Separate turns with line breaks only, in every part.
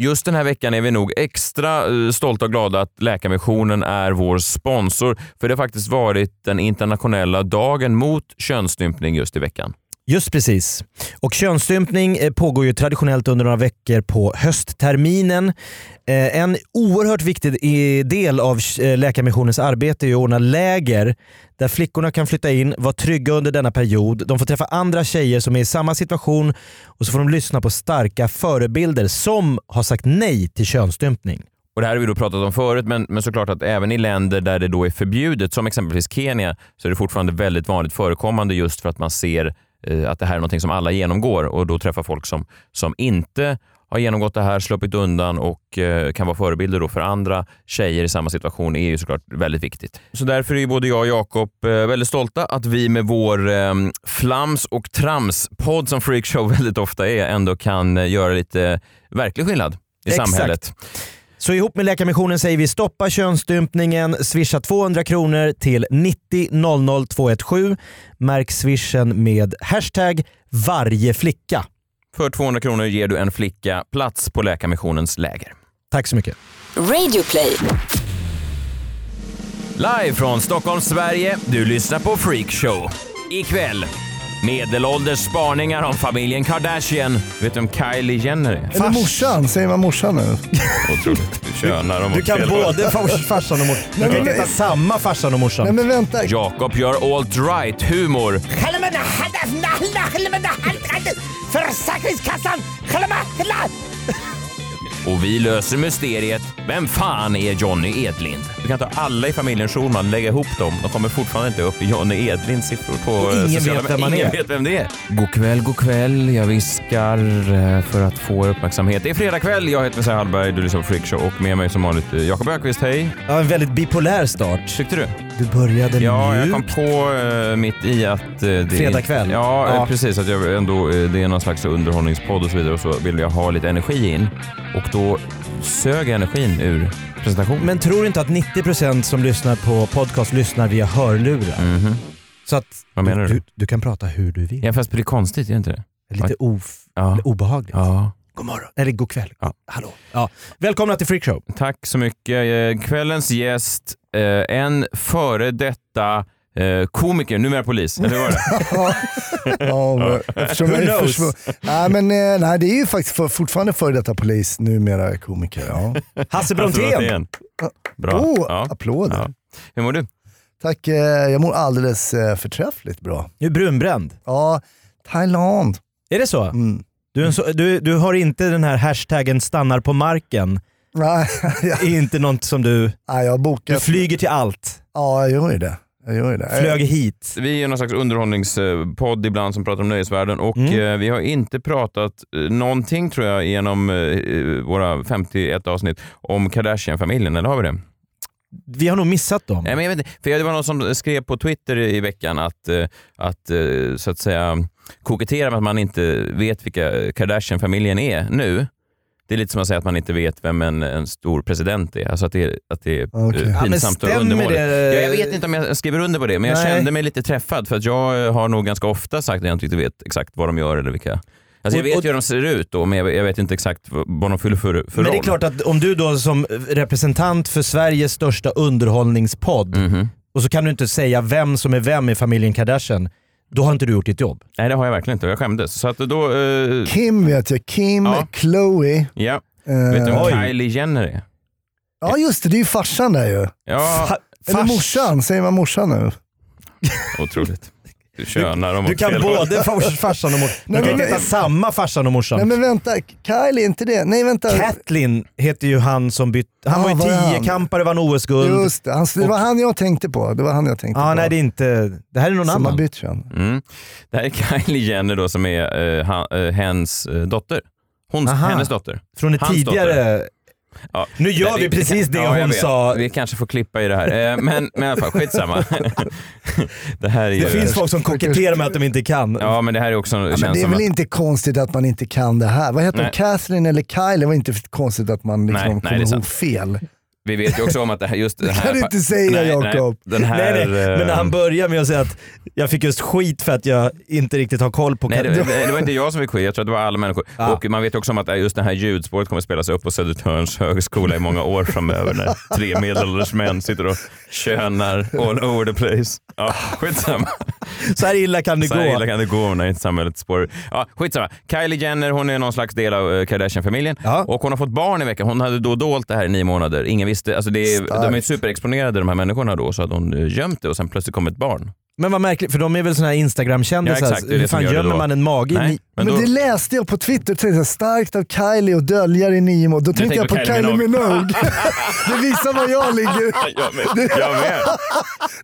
Just den här veckan är vi nog extra eh, stolta och glada att Läkarmissionen är vår sponsor. För det har faktiskt varit den internationella dagen mot könsstympning just i veckan.
Just precis. Och könsstympning eh, pågår ju traditionellt under några veckor på höstterminen. Eh, En oerhört viktig i- del av eh, Läkarmissionens arbete är ju att ordna läger där flickorna kan flytta in, vara trygga under denna period. De får träffa andra tjejer som är i samma situation och så får de lyssna på starka förebilder som har sagt nej till könsstympning.
Och Det här har vi då pratat om förut, men, men såklart att även i länder där det då är förbjudet, som exempelvis Kenya, så är det fortfarande väldigt vanligt förekommande just för att man ser eh, att det här är någonting som alla genomgår och då träffar folk som, som inte har genomgått det här, sluppit undan och eh, kan vara förebilder då för andra tjejer i samma situation är ju såklart väldigt viktigt. Så därför är ju både jag och Jakob eh, väldigt stolta att vi med vår eh, flams och trams-podd som Freakshow väldigt ofta är ändå kan eh, göra lite verklig skillnad i
Exakt.
samhället.
Så ihop med Läkarmissionen säger vi stoppa könsstympningen, swisha 200 kronor till 90 00 217. Märk swishen med hashtag varje flicka.
För 200 kronor ger du en flicka plats på Läkarmissionens läger.
Tack så mycket.
Radio play.
Live från Stockholm, Sverige. Du lyssnar på Freakshow. Ikväll, medelålders spaningar om familjen Kardashian. Vet du om Kylie Jenner är?
Eller morsan, säger man morsan nu?
Otroligt. Du könar dem åt fel håll.
både farsan och morsan. Du
Nej,
kan
men-
heta samma farsan och
Nej
morsan.
men vänta,
Jakob gör alt-right humor. Och vi löser mysteriet. Vem fan är Johnny Edlind? Du kan ta alla i familjen Schulman, lägga ihop dem. De kommer fortfarande inte upp i Johnny Edlinds siffror på eh,
ingen
sociala
vet
med-
vem han
ingen
är.
vet vem det är. God kväll, god kväll. Jag viskar eh, för att få er uppmärksamhet. Det är fredag kväll. Jag heter Messiah Hallberg, du lyssnar på Freakshow och med mig som vanligt eh, Jakob Ökvist. Hej.
Ja, en väldigt bipolär start.
Tyckte du?
Du började
Ja, jag
mjukt.
kom på eh, mitt i att... eh, det
Fredag kväll.
Ja, eh,
Ja.
precis. Att jag ändå, eh, det är någon slags underhållningspodd och så vidare och så vill jag ha lite energi in. Och då sög jag energin ur presentationen.
Men tror du inte att 90% som lyssnar på podcast lyssnar via hörlurar?
Mhm.
Så att
Vad menar du?
Du, du kan prata hur du vill.
Ja, fast det blir konstigt, är det inte det?
Lite of,
Ja.
obehagligt.
ja.
God morgon. Eller god kväll.
Ja.
Hallå. Ja. Välkomna till Freakshow.
Tack så mycket. Eh, Kvällens gäst, eh, en före detta eh, komiker, numera polis. Eller hur var det?
Ja, men eftersom jag är
knows?
försvå- nej, men, eh, nej, det är ju faktiskt för, fortfarande före detta polis, numera komiker. Ja.
Hasse
Alltså,
Brontén.
Brontén. Bra.
Oh,
Ja.
Applåder.
Ja. Hur mår du?
Tack, eh, jag mår alldeles eh, förträffligt bra.
Nu är brunbränd.
Ja, Thailand.
Är det så?
Mm.
Du, är en så du, du har inte den här hashtaggen stannar på marken.
Nej, jag,
Det är inte något som du...
nej, jag har
Du
bokat.
flyger till allt.
Ja, jag gör ju det. Jag gör ju det.
Flög hit.
Vi är någon slags underhållningspodd ibland som pratar om nöjesvärlden och
Mm.
eh, vi har inte pratat eh, någonting tror jag genom eh, våra 51 avsnitt om Kardashian-familjen, eller har vi det?
Vi har nog missat dem.
Nej, men jag vet inte, för det var någon som skrev på Twitter i i veckan att, eh, att eh, så att säga kokettera med att man inte vet vilka Kardashian-familjen är nu. Det är lite som att säga att man inte vet vem en, en stor president är. Alltså att det, är- att det är eh,
Okej. Ja, men
pinsamt och undermåligt.
det?
Ja, jag vet inte om jag skriver under på det, men jag
Eh, Nej.
kände mig lite träffad för att jag eh, har nog ganska ofta sagt att jag inte riktigt vet exakt vad de gör eller vilka... Alltså jag
Och-
vet
och-
ju hur de ser ut då, men jag, jag vet inte exakt vad vad de fyller för, för
Men
roll.
det är klart att om du då som representant för Sveriges största underhållningspodd
Mhm.
och så kan du inte säga vem som är vem i familjen Kardashian, då har inte du gjort ditt jobb.
Nej, det har jag verkligen inte. Jag skämdes. Så att då... eh,
Kim vet jag. Kim,
Ja.
Chloe.
ja.
eh,
Vet du
oj.
vem Kylie Jenner är?
ja, just det. Det är ju farsan där ju.
Ja,
Fa-
Eller
fars.
morsan, säger man morsan nu?
otroligt. Du könar dem
Du
åt
kan
fel håll.
både fars, farsan och morsan. Du
Nej,
kan inte
men-
heta samma farsan och
Nej
morsan.
men vänta, Kylie, inte det? Nej vänta.
Catlin heter ju han som bytt... Han
Ja,
var ju
Ah, var det han?
tiokampare, vann OS-guld.
Just det, han, det var han jag tänkte på. Det var han jag tänkte
Ja,
på.
nej det är inte... Det här är någon
Som har
annan.
bytt kön.
Mm. Det här är Kylie Jenner då som är eh, ha, eh, hens eh, dotter. Hon,
Aha.
hennes dotter.
Från ett
Hans
tidigare...
Ja.
Nu gör
Nej,
vi precis det
ja, jag
hon
vet.
sa.
Vi kanske får klippa i det här. Eh, Men, men i alla fall, skitsamma. Det här är ju...
Det finns folk som koketterar med att de inte kan.
Ja, men det här är också...
Ja,
känns
men det är
som
väl
att,
inte konstigt att man inte kan det här? Vad heter
Nej.
hon? Kathleen eller Kylie? Det var inte konstigt att man liksom
Nej, nej,
kom
det är
ihåg
sant.
fel.
Vi vet ju också om att det här, just den
Det
här...
kan du inte säga,
nej,
Jakob.
Nej, den här... eh,
nej, nej. Men när han börjar med att säga att jag fick just skit för att jag inte riktigt har koll på...
Nej, det,
kan-
det det var inte jag som fick skit, jag tror att det var alla människor.
Ah.
Och man vet också om att eh, just det här ljudspåret kommer att spelas upp på Södertörns högskola i många år framöver när tre medelålders män sitter och könar all over the place. Ja, skitsamma.
Så här illa kan det
Så här
gå.
illa kan det gå när inte samhället spår. Ja, skitsamma. Kylie Jenner, hon är någon slags del av eh, Kardashian-familjen.
Ja.
Och hon har fått barn i veckan. Hon hade då dolt det här i nio månader. Ingen visste. Alltså det är,
Starkt.
de är ju superexponerade de här människorna då, så att hon eh, gömt det och sen plötsligt kom ett barn.
Men vad märkligt, för de är väl såna här
Ja,
Instagram-kändisar.
exakt, det är
Hur
det som
fan
gör det
gömmer
då.
man en mage i
Nej,
ni-
men
Men,
då,
det läste jag på Twitter och tänkte starkt av Kylie och dölja det i nio månader. Då tänkte jag
tänker
på
på
Kylie
Kylie
Minogue. det visar var jag ligger.
jag med. Jag med.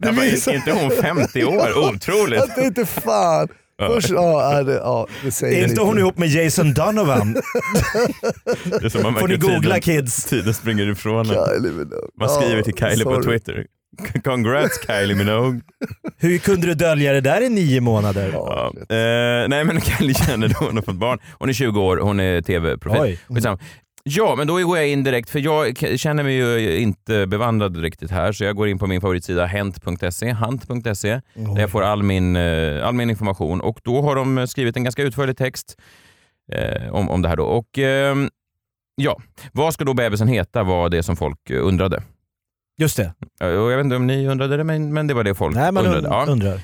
Jag bara,
visar-
är inte hon 50 år? Otroligt.
Jag tänkte fan. Först, ja, ja, det, ja, det säger
Är inte
lite.
hon ihop med Jason Donovan?
Det är som man
Får ni
märker
googla
tiden,
kids.
tiden springer ifrån en.
Kylie Minogue.
Man skriver
Ja,
till Kylie på
sorry.
Twitter. Congrats Kylie Minogue.
Hur kunde du dölja det där i nio månader?
Ja. Eh, nej men Kylie Jenner, då, hon har fått barn. Hon är 20 år, hon är tv-profil.
Oj.
Skitsamma. Ja, men då går jag in direkt, för jag k- känner mig ju inte bevandrad riktigt här, så jag går in på min favoritsida hent.se, hant.se, där jag får all min, eh, all min information. Och då har de eh, skrivit en ganska utförlig text eh, om, om det här då. Och ehm, ja, vad ska då bebisen heta var det som folk eh, undrade.
Just det.
Eh, och Jag vet inte om ni undrade det, men, men det var det folk
Nej, man
undrade. Ja.
und- undrar.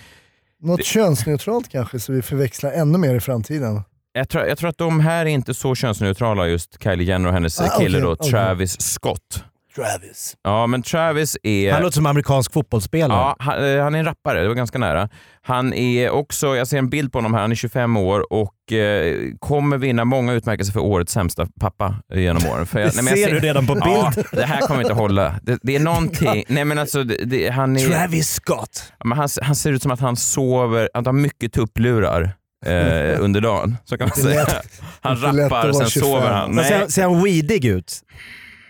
Något könsneutralt kanske så vi förväxlar ännu mer i framtiden.
Jag tror, jag tror att de här är inte så könsneutrala, just Kylie Jenner och hennes
Ah,
kille
okej,
då,
okej.
Travis Scott.
Travis.
Ja, men Travis är...
Han låter som amerikansk fotbollsspelare.
ja, han, eh, han är en rappare, det var ganska nära. Han är också, jag ser en bild på honom här, han är 25 år och eh, kommer vinna många utmärkelser för årets sämsta pappa genom åren. För jag,
Det
nej, men jag
ser du redan på bild.
Ja, det här kommer inte hålla. Det, det är någonting, nej men alltså, det, det, han, är,
Travis Scott.
men han, han ser ut som att han sover, att han har mycket tupplurar. Eh, under dagen, så kan man
Det
säga.
lät-
Han
inte lätt att
rappar,
vara
sen
25.
sover han.
Men
Nej.
Ser, ser han weedig ut?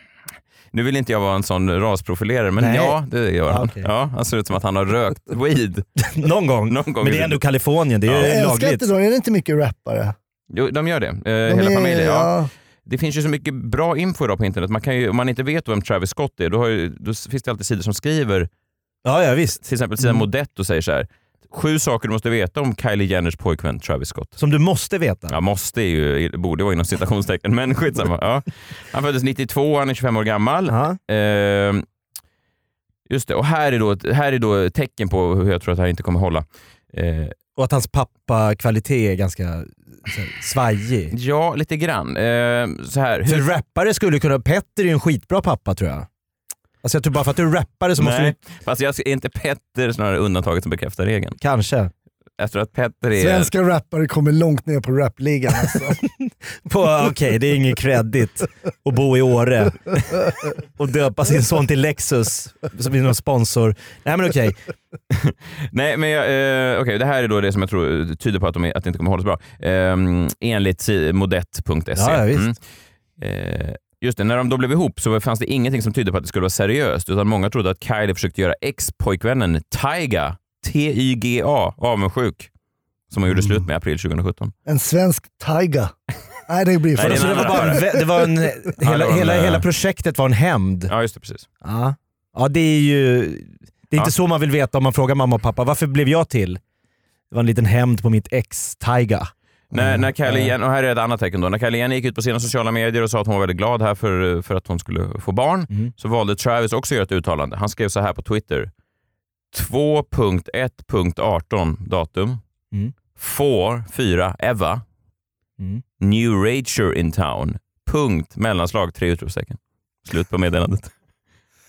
Nu vill inte jag vara en sån rasprofilerare, men
Nej. Ah,
ja, det gör han.
okej.
Ja, han ser ut som att han har rökt weed.
Någon gång.
Någon gång
Men det
i-
är ändå Kalifornien, det är
Ja.
ju
Jag älskar
lagligt.
inte dem, är det inte mycket rappare?
Jo, de gör det, eh,
De
hela
är-
familjen. Ja.
ja.
Det finns ju så mycket bra info idag på internet. Man kan ju, om man inte vet vem Travis Scott är, då, har ju, då finns det alltid sidor som skriver,
Ja, ja visst.
till exempel sidan
Mm.
Modett och säger så här, sju saker du måste veta om Kylie Jenners pojkvän Travis Scott.
Som du måste veta.
Ja, måste är ju, borde vara inom citationstecken, men skitsamma. Ja. Han föddes 92, han är 25 år gammal.
Ja.
Ehm, just det, och här är, då, ett- här är då ett tecken på hur jag tror att det här inte kommer hålla. Eh,
Och att hans pappa-kvalitet är ganska så här, svajig.
ja, lite grann. Ehm, så här.
För
Hur,
rappare skulle kunna... Petter är ju en skitbra pappa tror jag. Alltså jag tror bara för att du är rappare så måste
nej,
du...
fast jag, är inte Petter snarare undantaget som bekräftar regeln?
Kanske.
Jag tror att Petter är...
Svenska rappare kommer långt ner på rapligan alltså.
På- Okej, det är ingen kredit att bo i Åre och döpa sin son till Lexus som är någon sponsor. Nej men okej.
Nej, men jag, eh, okej, det här är då det som jag tror eh, tyder på att, de är, att det inte kommer hålla så bra. Ehm, enligt si- modett.se.
Ja, ja, visst.
Mm. Eh, Just det, när de då blev ihop så fanns det ingenting som tydde på att det skulle vara seriöst utan många trodde att Kylie försökte göra ex-pojkvännen Tyga, T-Y-G-A, avundsjuk. Som hon
Mm.
gjorde slut med i april 2017.
En svensk taiga. Nej det
Nej,
blir för
är
Så det
en
var
annan
bara en, vä- det var en,
det
hela,
var en,
hela,
eh,
hela projektet var en hämnd.
Ja, just det. Precis.
Ja. ja, det är ju... Det är
Ja.
inte så man vill veta om man frågar mamma och pappa. Varför blev jag till? Det var en liten hämnd på mitt ex, Taiga.
När, när Kylie
Mm.
Jenner, och här är ett annat tecken då. När Kylie Jenner gick ut på sina sociala medier och sa att hon var väldigt glad här för, för att hon skulle få barn,
Mm.
så valde Travis också att göra ett uttalande. Han skrev så här på Twitter. 2.1.18 datum.
Mm.
Får 4 Eva.
Mm.
New Rager in town. Punkt mellanslag tre utropstecken. Slut på meddelandet.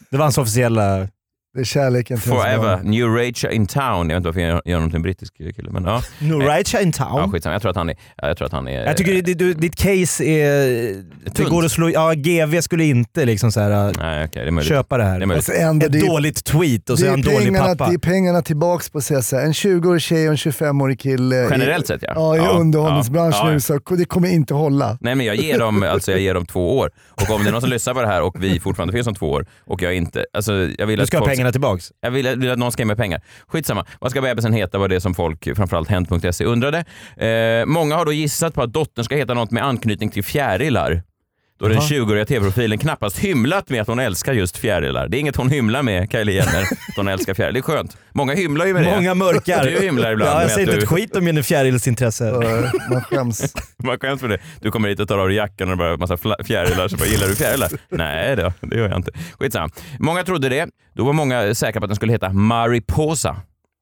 Det var hans officiella...
Det är kärleken till ens barn.
Forever. New Rager in town. Jag vet inte varför jag gör honom till en brittisk kille. Men ja,
No right in
ja
town.
skitsamma. Jag tror att han är... Jag tror att han är
jag tycker det, du, ditt case är... Det
Tunt.
går att slå... Ja, GV skulle inte liksom så här, äh,
Nej, okej. det är möjligt.
köpa det här.
Det är möjligt.
Alltså, ändå,
Ett
det är-
dåligt tweet och så
det
är
är
han dålig
pengarna-
pappa.
Det är pengarna tillbaks på att säga så här, en 20-årig tjej och en 25-årig kille.
Eh,
Generellt
i,
sett ja.
Ja, i underhållningsbranschen
Ja, ja.
nu så det kommer inte hålla.
Nej men jag ger, dem, alltså jag ger dem två år. Och om det är någon som lyssnar på det här och vi fortfarande finns om två år och jag inte... Alltså, jag vill
Du
att
ska ha
folk
pengarna tillbaks.
Jag vill, vill att någon ska ge mig pengar. Skitsamma. Vad ska bebisen heta var det som folk, framförallt Hent.se, undrade. Eh, många har då gissat på att dottern ska heta något med anknytning till fjärilar. Då den
Jaha.
20-åriga tv-profilen knappast hymlat med att hon älskar just fjärilar. Det är inget hon hymlar med, Kylie Jenner, att hon älskar fjärilar. Det är skönt. Många hymlar ju med det.
Många mörkar.
Du hymlar ibland
Ja,
med
jag
att
säger inte
du-
ett skit om mina fjärilsintresse.
Eh, Man skäms.
Man skäms för det. Du kommer hit och tar av dig jackan och det bara är massa fla- fjärilar. Så bara, gillar du fjärilar? Nej då, det gör jag inte. Skitsamma. Många trodde det. Då var många säkra på att den skulle heta Mariposa,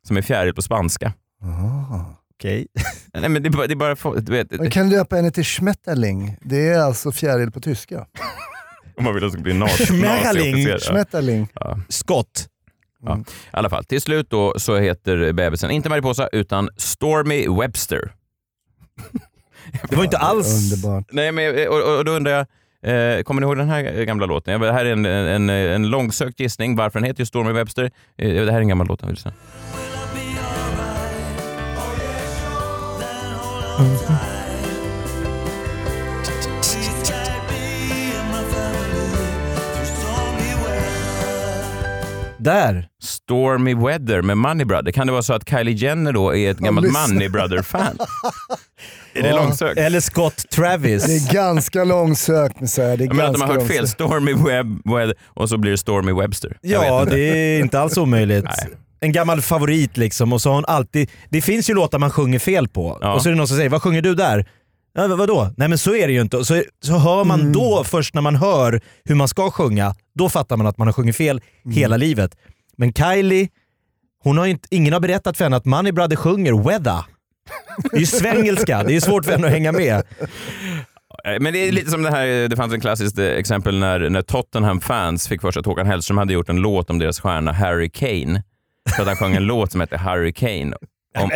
som är fjäril på spanska.
Ah.
Okej.
Nej men det är bara, det är bara få- du vet,
Man kan döpa henne till Schmetterling. Det är alltså fjäril på tyska.
om man vill att det ska bli nas-
Schmetterling.
naziofficer. Ja.
Schmetterling.
Skott.
I alla fall, till slut då så heter bebisen inte Mariposa utan Stormy Webster.
Det var inte alls...
Underbart.
Nej, men, och, och då undrar jag, eh, kommer ni ihåg den här gamla låten? Jag, det här är en, en, en långsökt gissning varför den heter just Stormy Webster. Eh, det här är en gammal låt. jag vill säga.
Där.
Stormy Weather med Money Brother. Kan det vara så att Kylie Jenner då är ett gammalt
lyssnar.
Money Brother-fan? är det
Ja.
långsökt?
Eller Scott Travis.
Det är ganska långsökt, men så här, det är
Jag menar att de
ganska
har hört fel.
långsökt.
Stormy Web, Weather och så blir det Stormy Webster. Jag vet
Ja,
inte.
det är inte alls omöjligt.
Nej.
En gammal favorit liksom och så har hon alltid... Det finns ju låtar man sjunger fel på
Ja.
och så är det någon som säger “Vad sjunger du där?” ja, vad- “Vadå?” Nej men så är det ju inte. Och Så, så hör man då, först när man hör hur man ska sjunga, då fattar man att man har sjungit fel hela livet. Men Kylie, hon har ju inte, ingen har berättat för henne att Money Brother sjunger “Weather”. Det är ju svengelska, det är ju svårt för henne att hänga med.
Eh, Men det är lite som det här, eh, det fanns en klassiskt eh, exempel när, när Tottenham-fans fick för sig att Håkan Hellström hade gjort en låt om deras stjärna Harry Kane. För att han sjöng en låt som hette Harry Kane. Om,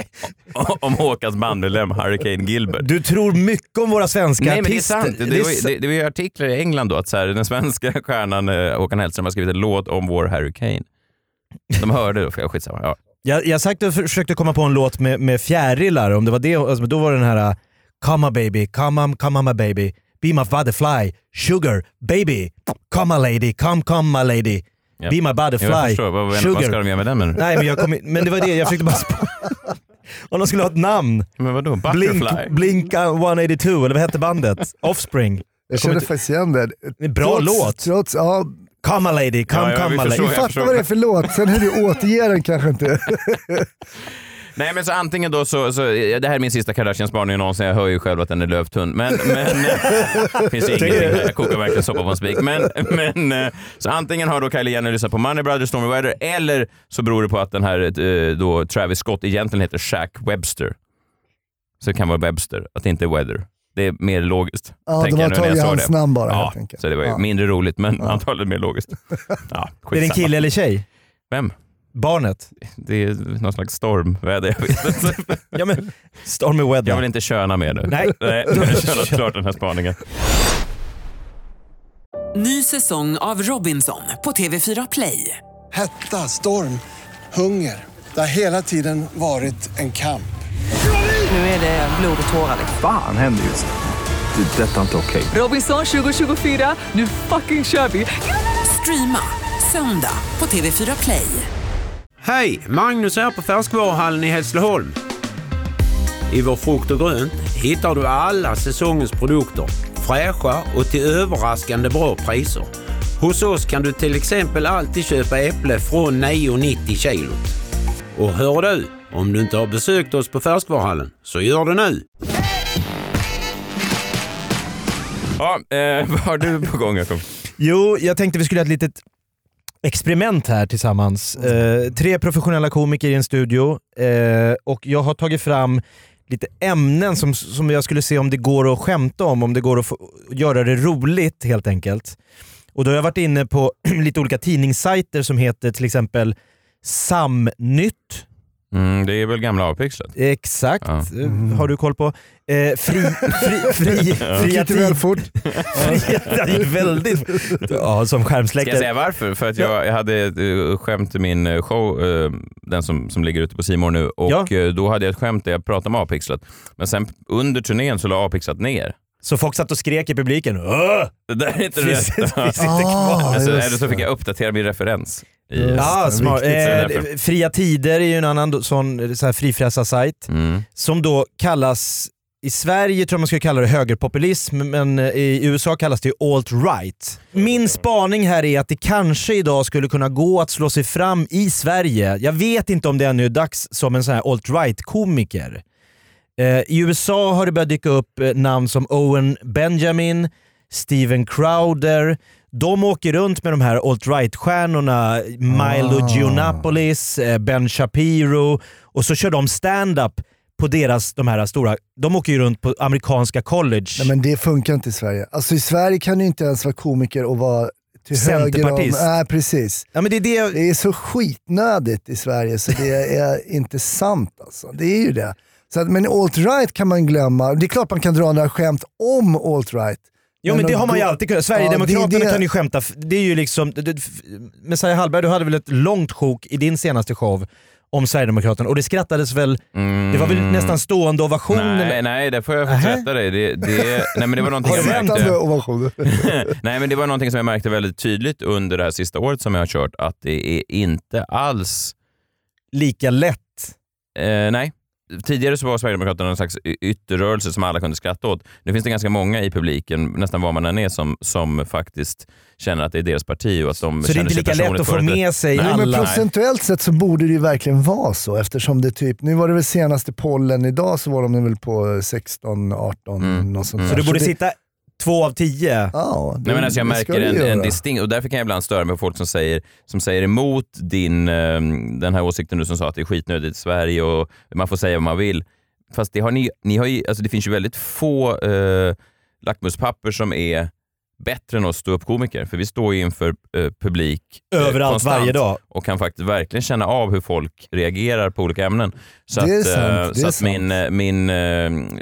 om, om Håkans bandmedlem Harry Kane Gilbert.
Du tror mycket om våra svenska
Nej men det är
artister.
sant. Det,
Det är
var ju-
sa-
det, det var ju artiklar i England då att så här, den svenska stjärnan eh, Håkan Hellström har skrivit en låt om vår Harry Kane. De hörde då, för jag skitsamma. Ja.
Jag, jag sagt och försökte komma på en låt med, med fjärilar, om det var det, alltså, då var det den här uh, “Come on baby, come on, come on my baby, be my butterfly, sugar, baby, come my lady, come, come my lady,
Ja.
be my
Jo, Jag
butterfly,
förstår, vad, vad, vad ska
sugar”.
de göra med den menar du?
Nej men, jag kom, in- men det var det, jag försökte bara spå- Om de skulle ha ett namn.
Men vadå,
Blink,
Butterfly?
Blink uh, 182, eller vad hette bandet? Offspring.
Jag känner faktiskt igen det.
Bra låt.
Trots, ja,
Come my lady, come,
Ja, ja, vi
come my lady.
förstår.
du
jag
fattar vad det är för låt, sen hur du återger den kanske inte.
Nej men så antingen då så, så det här är min sista Kardashian-spaning någonsin, jag hör ju själv att den är lövtunn. Men, men det finns ju ingenting där, jag kokar verkligen soppa på en spik. Men, men eh, så antingen har då Kylie Jenner lyssnat på Money Brothers, Stormy Weather, eller så beror det på att den här eh, då Travis Scott egentligen heter Shaq Webster. Så det kan vara Webster, att det inte är Weather. Det är mer logiskt.
Ja,
tänker
de har
jag nu när jag
tagit
sa
hans
det.
namn bara
Ja,
helt enkelt.
så det var ju
Ja.
mindre roligt men antagligen mer logiskt. Ja,
Är det en
skitsamma.
kille eller tjej?
Vem?
Barnet?
Det är någon slags stormväder, jag vet inte.
Ja men, Stormy
Jag vill
Weather.
inte köna mer nu.
Nej.
Nej, jag har könat klart den här spaningen.
Ny säsong av Robinson på TV4 Play.
Hetta, storm, hunger. Det har hela tiden varit en kamp.
Nu är det blod och tårar.
Fan händer just nu. Det. är Detta är inte okej.
Robinson 2024, nu fucking kör vi! Streama söndag på TV4 Play.
Hej! Magnus här på Färskvaruhallen i Hässleholm. I vår frukt och grönt hittar du alla säsongens produkter. Fräscha och till överraskande bra priser. Hos oss kan du till exempel alltid köpa äpple från 9,90 kilot. Och hör du, om du inte har besökt oss på Färskvaruhallen, så gör det nu!
Ja, eh, vad har du på gång Jakob?
Jo, jag tänkte vi skulle ha ett litet experiment här tillsammans. Eh, tre professionella komiker i en studio eh, och jag har tagit fram lite ämnen som, som jag skulle se om det går att skämta om, om det går att få, göra det roligt helt enkelt. Och då har jag varit inne på lite olika tidningssajter som heter till exempel Samnytt,
Mm, det är väl gamla avpixlat?
exakt,
Ja.
eh, har du koll på. Eh, fri, fri, fri, fria,
Lite väl
tid,
fort.
fria, det gick väldigt, ja, som
Ska jag
skärmsläckare.
säga varför? För att jag, jag hade ett eh, skämt i min eh, show, eh, den som, som ligger ute på Simor nu, och
Ja.
eh, då hade jag ett skämt där jag pratade om avpixlat. Men sen under turnén så la avpixlat ner.
Så folk satt och skrek i publiken. "Åh!"
Det där är inte
Finns,
rätt.
finns inte
Ah,
kvar.
Men så,
just
eller så fick jag uppdatera min referens. I,
Ja, smart.
viktigt, så är det
Eh, fria Tider är ju en annan då- sån så här frifräsarsajt
mm.
som då kallas I Sverige tror jag man skulle kalla det högerpopulism, men eh, i USA kallas det ju alt-right. Min spaning här är att det kanske idag skulle kunna gå att slå sig fram i Sverige. Jag vet inte om det ännu är dags som en sån här alt-right-komiker. Eh, I USA har det börjat dyka upp eh, namn som Owen Benjamin, Steven Crowder. De åker runt med de här alt-right-stjärnorna, Milo
Ah.
Giannopoulos, eh, Ben Shapiro och så kör de stand-up på deras, de här stora, de åker ju runt på amerikanska college.
Nej, men det funkar inte i Sverige. Alltså i Sverige kan du inte ens vara komiker och vara till höger om...
Centerpartist.
Nej, precis.
ja, men det är det jag,
Det är så skitnödigt i Sverige så det är inte sant alltså. Det är ju det. Så att, men alt-right kan man glömma. Det är klart man kan dra några skämt om alt-right.
jo men det har man ju
då-
alltid kunnat. Sverigedemokraterna
Ja, det är det.
kan ju skämta. f- Det är ju liksom, det- det- f- Messiah Hallberg, du hade väl ett långt sjok i din senaste show om Sverigedemokraterna och det skrattades väl, det var väl
Mm.
nästan stående ovationer.
Nej, nej, där får jag faktiskt
Nähä.
rätta dig. Det, det, nej, men det var någonting
Har du
jag
sett
märkte.
andra ovationer?
Nej, men det var någonting som jag märkte väldigt tydligt under det här sista året som jag har kört, att det är inte alls
Lika lätt.
Eh, nej. Tidigare så var Sverigedemokraterna en slags y- ytterrörelse som alla kunde skratta åt. Nu finns det ganska många i publiken, nästan var man än är, som, som faktiskt känner att det är deras parti och att de
Så det är
känner
inte
sig
lika lätt
personligt
att få
företrädda.
med sig
Nej,
Jo, men
alla.
procentuellt sett så borde det ju verkligen vara så eftersom det typ, nu var det väl senaste pollen idag så var de väl på 16-18
Mm.
något sånt
Mm.
där.
Så du borde
det-
sitta två av tio.
Ja, det,
Nej, men alltså jag
det ska
märker
du
en,
göra.
en distinkt, och därför kan jag ibland störa mig på folk som säger, som säger emot din, eh, den här åsikten du som sa att det är skitnödigt i Sverige och man får säga vad man vill. Fast det, har ni, ni har ju, alltså det finns ju väldigt få eh, lackmuspapper som är bättre än oss ståuppkomiker, för vi står ju inför eh, publik eh,
Överallt
konstant
varje dag.
och kan faktiskt verkligen känna av hur folk reagerar på olika ämnen. Så
Det är
att, eh,
sant, det
så
är
att min, eh, min eh,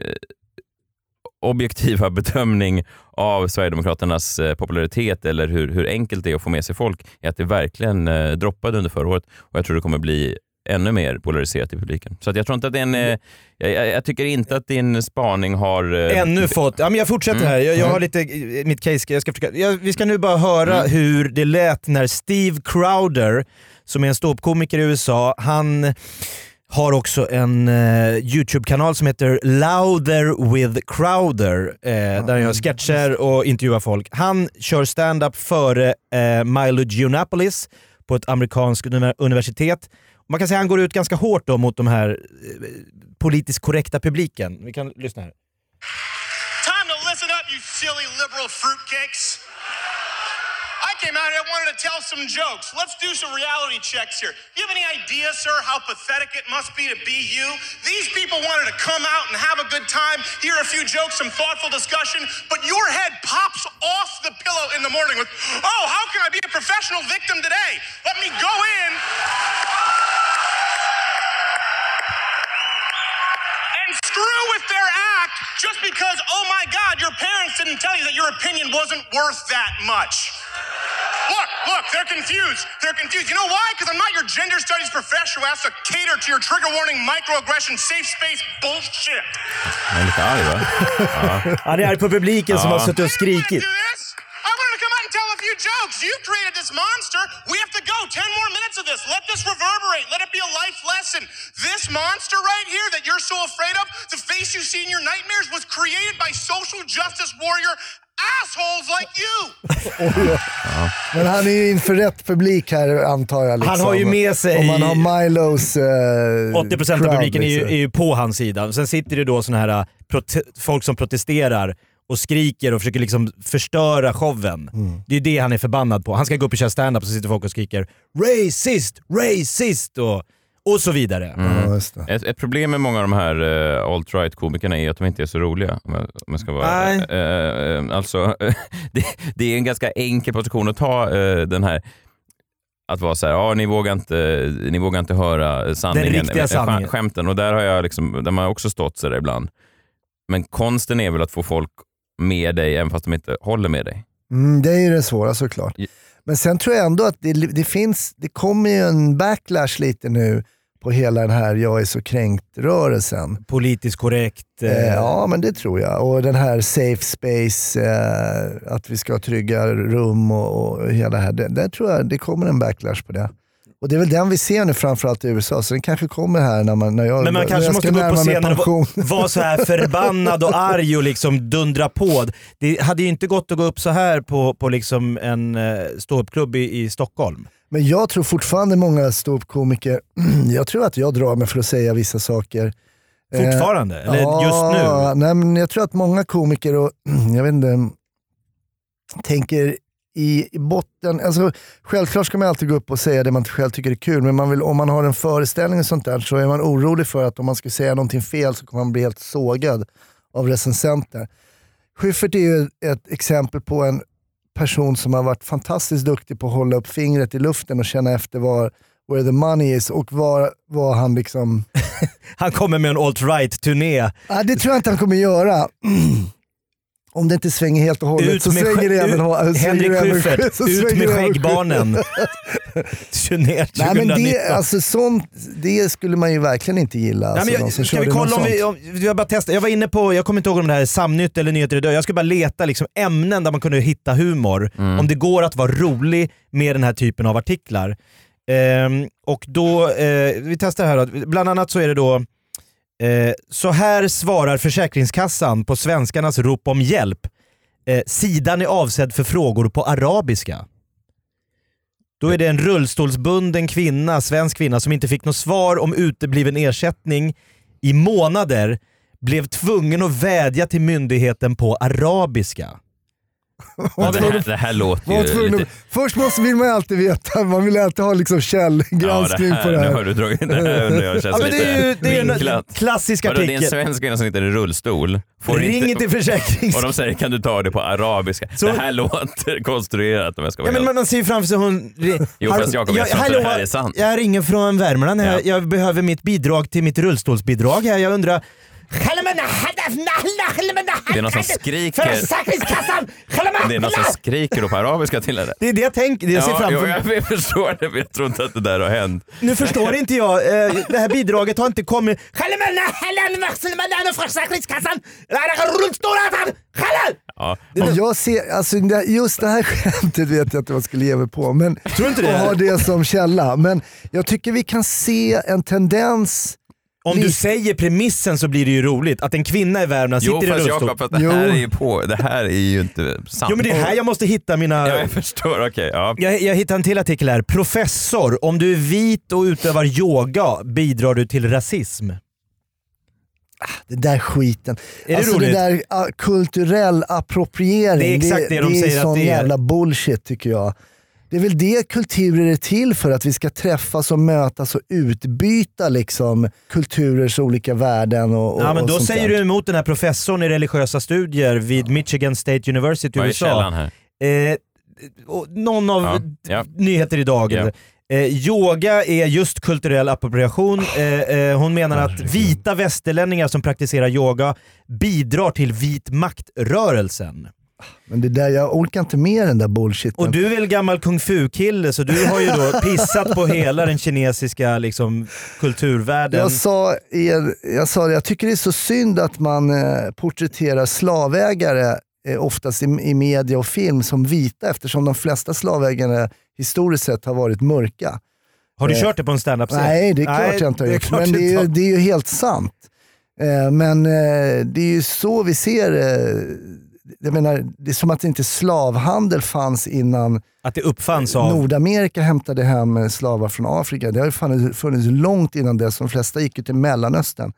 objektiva bedömning av Sverigedemokraternas eh, popularitet eller hur, hur enkelt det är att få med sig folk är att det verkligen eh, droppade under förra året och jag tror det kommer bli ännu mer polariserat i publiken. Så att jag tror inte att den, eh, jag, jag, jag tycker inte att din spaning har... eh,
Ännu fått, ja men jag fortsätter här. Jag, jag har lite, eh, mitt case, ska- jag ska försöka. Jag, vi ska nu bara höra hur det lät när Steve Crowder, som är en ståuppkomiker i USA, han har också en eh, YouTube-kanal som heter Louder with Crowder, eh, där han gör sketcher och intervjuar folk. Han kör stand-up före eh, Milo Giannopoulos på ett amerikanskt uni- universitet. Man kan säga att han går ut ganska hårt då mot de här eh, politiskt korrekta publiken. Vi kan lyssna här.
Time to listen up, you silly liberal fruitcakes. I came out here, I wanted to tell some jokes. Let's do some reality checks here. You have any idea, sir, how pathetic it must be to be you? These people wanted to come out and have a good time, hear a few jokes, some thoughtful discussion, but your head pops off the pillow in the morning with, oh, how can I be a professional victim today? Let me go in and screw with their act just because, oh my God, your parents didn't tell you that your opinion wasn't worth that much. Look, look, they're confused. They're confused. You know why? Because I'm not your gender studies professor who has to cater to your trigger warning, microaggression, safe space bullshit.
Jag är lite arg va?
Han är arg på publiken som har suttit och
I didn't
skrikit.
wanna do this. I wanted to come out and tell a few jokes. You created this monster. We have to go. Ten more minutes of this. Let this reverberate. Let it be a life lesson. This monster right here that you're so afraid of, the face you see in your nightmares, was created by social justice warrior assholes like you.
Men han är ju inför rätt publik här antar jag. Liksom.
Han har ju med sig-
Om man har Milos... Eh,
80% av
crowd,
publiken är ju,
liksom.
är ju på hans sida. Sen sitter det då såna här äh, prote- folk som protesterar och skriker och försöker liksom förstöra showen.
Mm.
Det är ju det han är förbannad på. Han ska gå upp och köra stand-up så sitter folk och skriker “racist, racist” och, och så vidare.
Ja, just det.
Ett, ett problem med många av de här eh, alt-right-komikerna är att de inte är så roliga. Om jag, om jag ska vara...
Nej.
Eh, eh, alltså, det, det är en ganska enkel position att ta eh, den här att vara så här, ja ni vågar inte, ni vågar inte höra sanningen,
Den riktiga
eh, skä-
sanningen.
skämten. Och där har jag liksom, där har man också stått så där ibland. Men konsten är väl att få folk med dig även fast de inte håller med dig.
Mm, det är ju det svåra såklart.
Ja.
Men sen tror jag ändå att det, det finns, det kommer ju en backlash lite nu på hela den här jag är så kränkt-rörelsen.
Politiskt korrekt. eh,
Eh, ja, men det tror jag. Och den här safe space, eh, att vi ska ha trygga rum och, och hela det här. Det, där tror jag det kommer en backlash på det. Och det är väl den vi ser nu framförallt i USA, så den kanske kommer här när, man, när jag,
Men man
när
kanske
jag
måste
ska
gå upp på
närma mig
scenen och
pension.
va- vara så här förbannad och arg och liksom dundra på. Det hade ju inte gått att gå upp så här på, på liksom en eh, ståuppklubb i, i Stockholm.
Men jag tror fortfarande många ståuppkomiker, jag tror att jag drar mig för att säga vissa saker. Eh,
Fortfarande? Eller just nu?
Ja, Nej, men jag tror att många komiker, och, jag vet inte, tänker i i botten, alltså, självklart ska man alltid gå upp och säga det man själv tycker är kul, men man vill, om man har en föreställning och sånt där så är man orolig för att om man skulle säga någonting fel så kommer man bli helt sågad av recensenter. Schyffert är ju ett exempel på en person som har varit fantastiskt duktig på att hålla upp fingret i luften och känna efter var, where the money is och var, var han liksom
Han kommer med en alt-right-turné.
Ja, det tror jag inte han kommer göra. Om det inte svänger helt och hållet
Ut
så
med
svänger det
skä-
även...
ut-
svänger
Henrik
det även-
Schyffert,
så
ut
svänger
med
det även-
skäggbarnen. Turné 2019.
Nej, men det, alltså, sånt, det skulle man ju verkligen inte gilla.
Nej,
alltså,
men
de som
jag, ska
körde
vi kolla
något
om vi,
sånt.
om, jag bara testa. Jag var inne på, jag kommer inte ihåg om det här är Samnytt eller Nyheter idag. Jag skulle bara leta liksom ämnen där man kunde hitta humor. Om det går att vara rolig med den här typen av artiklar. Ehm, och då, eh, vi testar här då. Bland annat så är det då eh, så här svarar Försäkringskassan på svenskarnas rop om hjälp. Eh, sidan är avsedd för frågor på arabiska. Då är det en rullstolsbunden kvinna, svensk kvinna, som inte fick något svar om utebliven ersättning i månader blev tvungen att vädja till myndigheten på arabiska.
Ja, det, här, det här låter
Var
ju
tvungen
lite...
att- Först måste, vill man ju alltid veta, man vill alltid ha liksom källgranskning
ja, det här,
på det
Nu
här.
har du dragit det här undrar jag känns
Ja, men det är ju
lite
det är en
vinklat.
klassisk
Vadå, det är en
artikel.
svensk kvinna som sitter i rullstol. Får
Ring
inte,
till försäkrings...
och de säger kan du ta det på arabiska.
Så-
Det här låter konstruerat om jag ska
Ja,
vara
men
helt...
man, man ser ju framför sig hon...
Jo, fast Jakob, jag tror inte det här är sant.
Jag ringer från Värmland. Jag,
Ja.
jag behöver mitt bidrag till mitt rullstolsbidrag här. Jag undrar...
Det är någon som skriker.
Försäkringskassan!
Det är någon som skriker då på arabiska till henne.
Det är det jag tänker. Det jag ser
Ja,
framför
jo, jag, jag förstår det, men jag tror inte att det där har hänt.
Nu förstår inte jag. Eh, det här bidraget har inte kommit.
Ja.
Jag ser, alltså, det- just det här skämtet vet jag inte vad jag skulle ge mig på. Men,
Tror du inte det?
Och ha det som källa. Men jag tycker vi kan se en tendens
Om du
Visst.
säger premissen så blir det ju roligt. Att en kvinna i Värmland
Jo,
sitter i
fast
rullstol.
Jakob, fast det
Jo.
här är ju på. Det här är ju inte sant.
Jo men det är här jag måste hitta mina...
Ja, jag förstår, okej. ja.
Jag, jag hittade en till artikel här. Professor, om du är vit och utövar yoga bidrar du till rasism.
Det där skiten.
det
alltså
roligt?
det där ah, kulturell appropriering.
Det är exakt det de
är
säger att
sån
det är.
jävla bullshit tycker jag. Det är väl det kulturer är till för, att vi ska träffas och mötas och utbyta liksom, kulturers olika värden och, och
Ja, men
och
då
sånt
säger
där.
du emot den här professorn i religiösa studier vid Michigan State University i
Vad är källan
USA.
här?
Eh, och någon av
Ja, ja.
nyheter idag.
Ja.
Eh, yoga är just kulturell appropriation. Eh, eh, hon menar att vita västerlänningar som praktiserar yoga bidrar till vit maktrörelsen.
Men det där, jag orkar inte med den där bullshiten.
Och du är väl gammal kung fu-kille så du har ju då pissat på hela den kinesiska liksom, kulturvärlden.
Jag sa, i en, jag sa det, jag tycker det är så synd att man eh, porträtterar slavägare eh, oftast i, i media och film som vita eftersom de flesta slavägare historiskt sett har varit mörka.
har du kört det på en standup-scen?
Nej, det är klart jag inte har
det är
gjort.
klart
men
du
det
inte
är,
har.
ju, det är ju helt sant. Eh, Men eh, det är ju så vi ser eh, jag menar, det är som att inte slavhandel fanns innan
Att det uppfanns av...
Nordamerika hämtade hem eh, slavar från Afrika. Det har ju funnits, funnits långt innan dess. De flesta gick ju till Mellanöstern.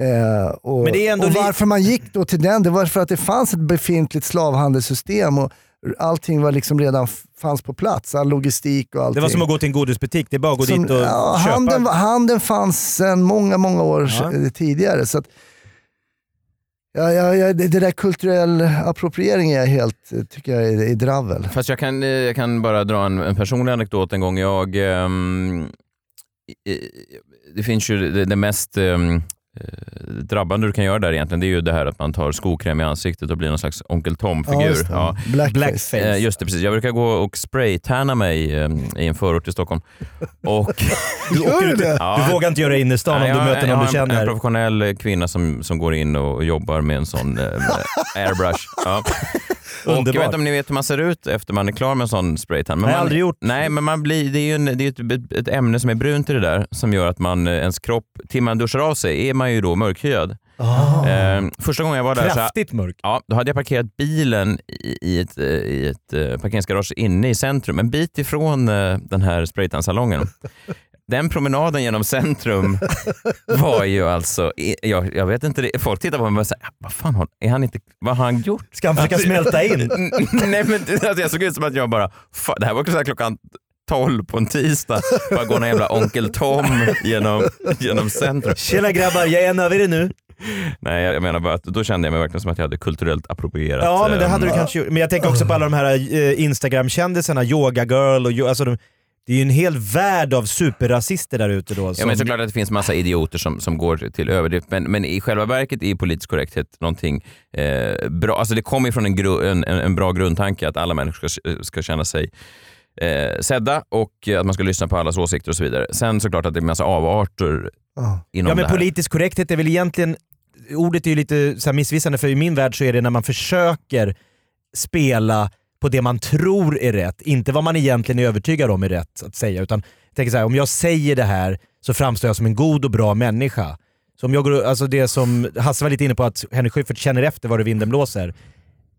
Eh, och,
Men det är ändå
och
li-
varför man gick då till den, det var för att det fanns ett befintligt slavhandelssystem och allting var liksom redan f- fanns på plats. All logistik och allting.
Det var som att gå till en godisbutik, det är bara att gå
Som-
dit och
ja,
köpa.
handeln, handeln fanns sedan många, många år
Ja.
se- eh, tidigare. Så att, ja, ja, ja, det, det där kulturell appropriering är jag helt, eh, tycker jag är, är dravel.
Fast jag kan, eh, jag kan bara dra en, en personlig anekdot en gång. Jag, ehm, i- i- det finns ju det, det mest ehm, eh, drabbande du kan göra där egentligen, det är ju det här att man tar skokräm i ansiktet och blir någon slags onkel Tom-figur.
just det.
Ja.
Blackface.
Blackface.
Eh, Just det, precis. Jag brukar gå och spraytanna mig eh, i en förort i Stockholm. Och,
Gör du det?
Ja.
Du vågar inte göra det i innerstan
Nej,
om du
jag-
möter
jag
någon
har
du
en, en
känner.
professionell kvinna som, som går in och jobbar med en sån eh, airbrush. eh, Ja. Och jag vet
Underbart.
inte om ni vet hur man ser ut efter man är klar med en sån spraytan. Men
Nej,
man,
aldrig gjort.
Nej, men man blir, det är ju en, det är ju ett, ett ämne som är brunt i det där som gör att man, eh, ens kropp, till man duschar av sig, är man ju då mörkhyad. Eh, första gången jag var där så,
Ah. Kraftigt mörk.
ja, då hade jag parkerat bilen i, i ett, eh, i ett eh, parkeringsgarage inne i centrum, en bit ifrån eh, den här spraytansalongen. Den promenaden genom centrum var ju alltså, i- jag, jag vet inte, det, folk tittar på mig och säger, "Ah, vad fan har, är han inte, vad har han gjort?
Ska han försöka smälta in?
Nej men det- alltså, jag såg ut som att jag bara, "Fan, det här var så här klockan 12 på en tisdag. Bara går någon jävla onkel Tom genom, genom centrum.
Tjena grabbar, jag är en över er nu.
Nej jag menar bara att då kände jag mig verkligen som att jag hade kulturellt approprierat.
Ja, men det hade du
ehm,
kanske gjort. Men jag tänker också på alla de här eh, Instagram-kändisarna, Yoga Girl och... yo- Alltså de, det är ju en hel värld av superrasister där ute då.
Ja,
som-
men såklart att det finns massa idioter som, som går till överdrift, men, men i själva verket är politisk korrekthet någonting eh, bra. Alltså det kommer ju från en, gru, en, en, en bra grundtanke att alla människor ska, ska känna sig eh, sedda och att man ska lyssna på allas åsikter och så vidare. Sen såklart att det är massa avarter inom
ja, men
det här.
politisk korrekthet är väl egentligen... Ordet är ju lite så här missvisande för i min värld så är det när man försöker spela på det man tror är rätt, inte vad man egentligen är övertygad om är rätt att säga. Utan jag tänker så här, om jag säger det här så framstår jag som en god och bra människa. Så om jag går, alltså det som Hasse var lite inne på, att Henrik Schyffert känner efter var det vinden blåser.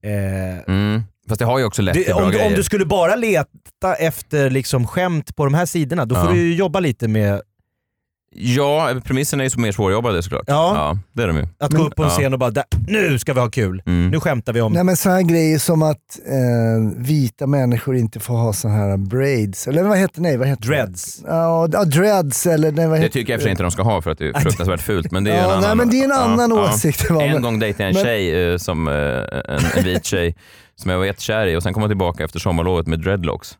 Eh,
Mm. Fast det har ju också lett
Det,
till bra
om, du,
grejer.
om du skulle bara leta efter liksom skämt på de här sidorna, då får
Ja.
du ju jobba lite med
Ja, premisserna är ju så mer svårjobbade såklart.
Ja.
det är de ju.
att gå upp på en
Ja.
scen och bara "Där, nu ska vi ha kul.
Mm.
Nu skämtar vi om...
Nej men sådana grejer som att eh, vita människor inte får ha sådana här braids, eller vad heter nej, vad heter det?
Dreads.
Ja, ja, dreads eller nej, vad
Det
heter
tycker jag i och för sig inte de ska ha för att det är fruktansvärt fult. Men det är ju
Ja,
en annan,
nej, men det är en annan
ja.
åsikt, va,
En
men-
gång dejtade jag en
men-
tjej, eh, som, eh, en, en vit tjej som jag var jättekär i och sen kom jag tillbaka efter sommarlovet med dreadlocks.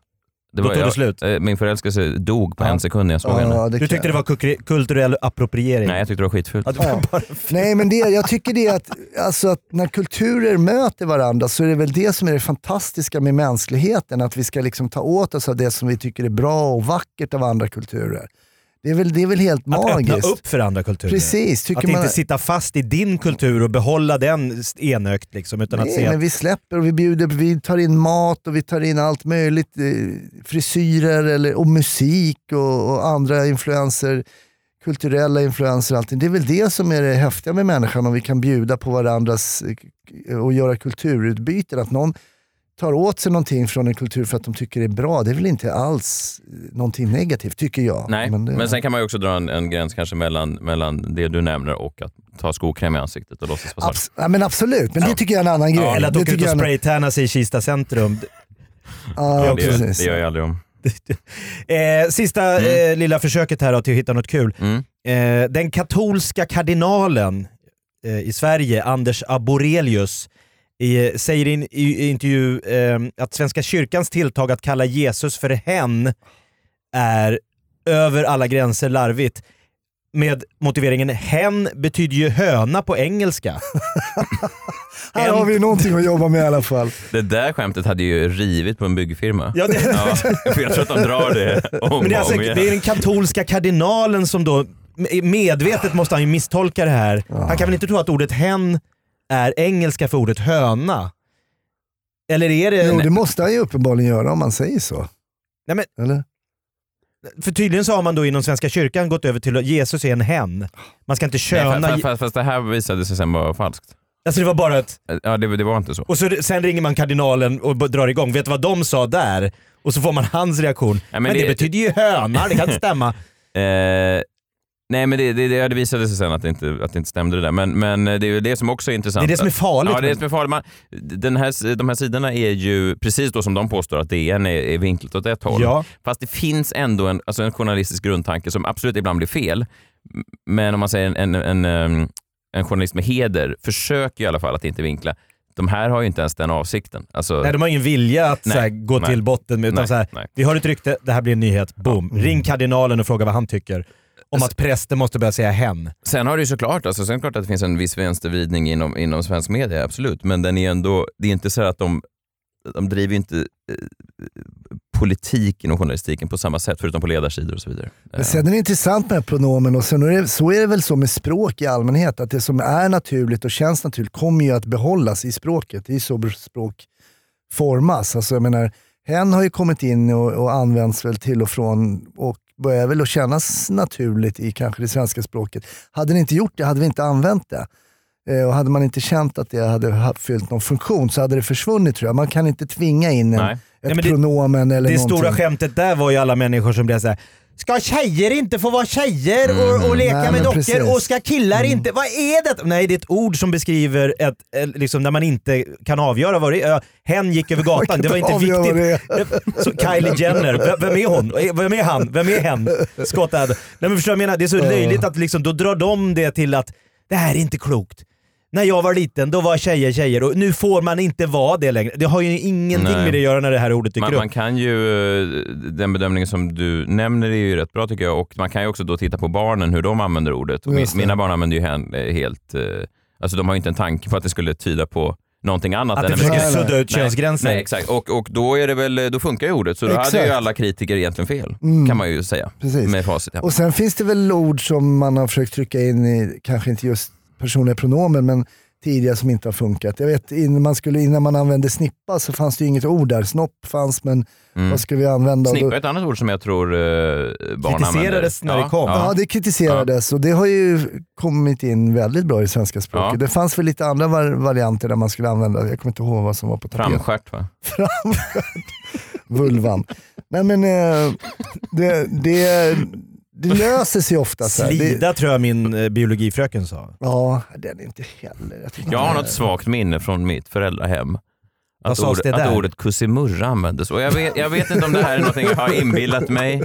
Det
Då tog
jag,
det slut.
eh, Min förälskelse dog på
Ja.
en sekund när jag såg henne.
Ja, det
Du
kan-
tyckte det var kukri- kulturell appropriering?
Nej, jag tyckte det var skitfult.
Ja, det var
Ja.
bara-
Nej, men det, jag tycker det är att, alltså att när kulturer möter varandra så är det väl det som är det fantastiska med mänskligheten. Att vi ska liksom ta åt oss av det som vi tycker är bra och vackert av andra kulturer. Det är väl, det är väl helt
Att öppna
magiskt.
upp för andra kulturer.
Precis, tycker
Att
man-
inte sitta fast i din kultur och behålla den enögt liksom, utan att se
Nej, men
att...
vi släpper och vi bjuder, vi tar in mat och vi tar in allt möjligt. eh, Frisyrer eller, och musik och, och andra influenser. Kulturella influenser och allting. Det är väl det som är det häftiga med människan om vi kan bjuda på varandras eh, k- och göra kulturutbyten. Att någon tar åt sig någonting från en kultur för att de tycker det är bra. Det är väl inte alls eh, någonting negativt, tycker jag. eh,
Nej, men,
det,
sen kan man ju också dra en, en gräns kanske mellan, mellan det du nämner och att ta skokräm i ansiktet och låtsas vara svart.
Abs- ja, men absolut, men det tycker jag är en annan grej.
Eller att
det
åka ut
tycker
och
jag är en-
spraytanna sig i Kista centrum.
Ja,
Det, gör-
precis.
det gör jag aldrig om.
Eh, sista
Mm.
eh, lilla försöket här då, till att hitta något kul. Eh, den katolska kardinalen eh, i Sverige, Anders Aborelius, i, säger i en i- i intervju eh, att Svenska kyrkans tilltag att kalla Jesus för hen är över alla gränser larvigt. Med motiveringen hen betyder ju höna på engelska.
Här har vi någonting att jobba med i alla fall.
Det där skämtet hade ju rivit på en byggfirma.
Ja, det-
för jag tror att de drar det om
Men det är, alltså,
och om igen.
det är den katolska kardinalen som då medvetet måste han ju misstolka det här. Han kan väl inte tro att ordet hen är engelska för ordet höna? Eller är det...
Jo, det måste han ju uppenbarligen göra om man säger så.
Nej, men,
Eller?
för tydligen så har man då inom Svenska kyrkan gått över till att Jesus är en hen. Man ska inte köna...
Nej, fa- fa- fast, fast det här visade sig sen vara falskt. Eh,
alltså det var bara ett...
Ja, det, det var inte så.
Och så, sen ringer man kardinalen och b- drar igång. Vet du vad de sa där? Och så får man hans reaktion.
men
men, det,
det-
betyder ju höna, det kan inte stämma.
Eh, nej, men det, det, det det visade sig sen att det inte, att det inte stämde det där. Men, men eh, det är ju det som också är intressant.
Det är det som är farligt.
Ja, det är det som är farligt. Man, den här, de här sidorna är ju, precis då som de påstår att DN är, är vinklat åt ett håll.
Ja.
Fast det finns ändå en, alltså en journalistisk grundtanke som absolut ibland blir fel. M- Men om man säger en, en, en, ehm, en journalist med heder försöker i alla fall att inte vinkla. De här har ju inte ens den avsikten. Alltså,
Nej, de har ingen vilja att
Nej,
såhär, gå
nej.
till botten med, utan
Nej,
såhär,
nej. Mm.
vi har ett rykte, det här blir en nyhet, boom. Ring kardinalen och fråga vad han tycker om
Alltså-
att präster måste börja säga hen.
Sen har det ju såklart, alltså, sen är det klart att det finns en viss vänstervridning inom, inom svensk media, absolut. Men den är ändå, det är inte så att de, de driver ju inte eh, politik inom journalistiken på samma sätt, förutom på ledarsidor och så vidare.
Men sen är det intressant med pronomen och sen är det, så är det väl så med språk i allmänhet, att det som är naturligt och känns naturligt kommer ju att behållas i språket. Det är ju så språk formas. Alltså, jag menar, hen har ju kommit in och, och används väl till och från och börjar väl att kännas naturligt i kanske det svenska språket. Hade ni inte gjort det hade vi inte använt det. Eh, Och hade man inte känt att det hade ha- fyllt någon funktion så hade det försvunnit tror jag. Man kan inte tvinga in en,
Nej.
ett
Nej, men det-
pronomen eller
Det
någonting.
stora skämtet där var ju alla människor som blev såhär Ska tjejer inte få vara tjejer och, och leka
Mm,
med
Nej, men
dockor
precis. Mm.
och ska killar inte... Vad är det? Nej, det är ett ord som beskriver ett, eh, liksom, när man inte kan avgöra vad det är. Eh, Hen gick över gatan, det var inte
avgöra vad
viktigt. Så Kylie Jenner, v- vem är hon? Eh, Vem är han? Vem är hen? Scott Adams. Nej men förstår du vad jag menar? Det är så löjligt att liksom, då drar de det till att det här är inte klokt. När jag var liten då var tjejer tjejer och nu får man inte vara det längre. Det har ju ingenting
Nej.
med det att göra när det här ordet dyker
Man,
upp.
man kan ju, eh, den bedömningen som du nämner är ju rätt bra tycker jag och man kan ju också då titta på barnen hur de använder ordet. Och min,
Just det.
mina barn använder ju hen, eh, helt, eh, alltså de har ju inte en tanke på att det skulle tyda på någonting annat.
Att det
en
försöker
beskrivning.
sudda ut
Nej,
könsgränser.
Nej, exakt. Och, och då, är det väl, då funkar ju ordet, så då hade
Exakt.
ju alla kritiker egentligen fel,
Mm.
kan man ju säga.
Precis.
Med facit. Ja.
Och sen finns det väl ord som man har försökt trycka in i, kanske inte just personliga pronomen, men tidigare som inte har funkat. Jag vet innan man, skulle, innan man använde snippa så fanns det ju inget ord där. Snopp fanns, men vad skulle vi använda? Och då-
Mm. Snippa är ett annat ord som jag tror eh, barn
Kritiserades
använder.
när det kom.
Ja, det kritiserades och det har ju kommit in väldigt bra i svenska språket.
Ja.
Det fanns väl lite andra var- varianter där man skulle använda, jag kommer inte ihåg vad som var på tapeten.
Framstjärt va?
Vulvan. Nej men eh, det, det, det löser sig ofta. Så här. Det,
Slida tror jag min eh, biologifröken sa.
ja, den är inte heller... Jag, tycker
Jag har
inte den
något
är-
svagt minne från mitt föräldrahem. Att,
sades det
ordet, att
där?
ordet kussimurra användes. Och jag vet, jag vet inte om det här är någonting jag har inbillat mig.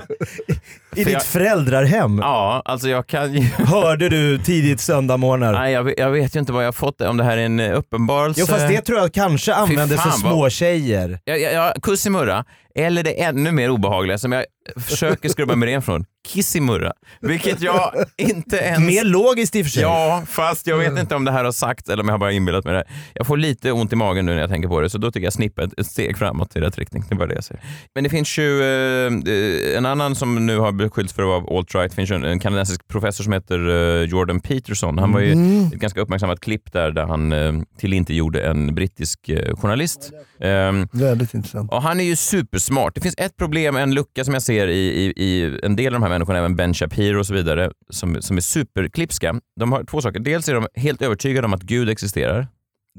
I ditt
jag-
föräldrarhem
Ja, alltså jag kan ju...
hörde du tidigt söndagmorgnar.
Nej, jag, vet- jag vet ju inte vad jag har fått det, om det här är en eh, uppenbarelse.
Jo fast det tror jag kanske användes för
fan, vad-
småtjejer.
Ja, ja, ja, kussimurra, eller det ännu mer obehagliga som jag försöker skrubba mig ren från, kissimurra. Vilket jag inte ens...
Mer logiskt i och för sig.
Ja, fast jag vet inte om det här har sagt eller om jag har bara inbillat mig det. Jag får lite ont i magen nu när jag tänker på det, så då tycker jag snippa ett, ett steg framåt i rätt riktning. Det var det jag säger. Men det finns ju eh, eh, en annan som nu har beskyllts för att vara alt-right. Det finns ju en, en kanadensisk professor som heter eh, Jordan Peterson. Han var ju ett ganska uppmärksammat klipp där, där han eh, tillintergjorde en brittisk eh, journalist. Ehm,
Väldigt intressant.
Ja, han är ju supersmart. Det finns ett problem, en lucka som jag ser i, i, i en del av de här människorna, även Ben Shapiro och så vidare, som, som är superklipska. De har två saker. Dels är de helt övertygade om att Gud existerar.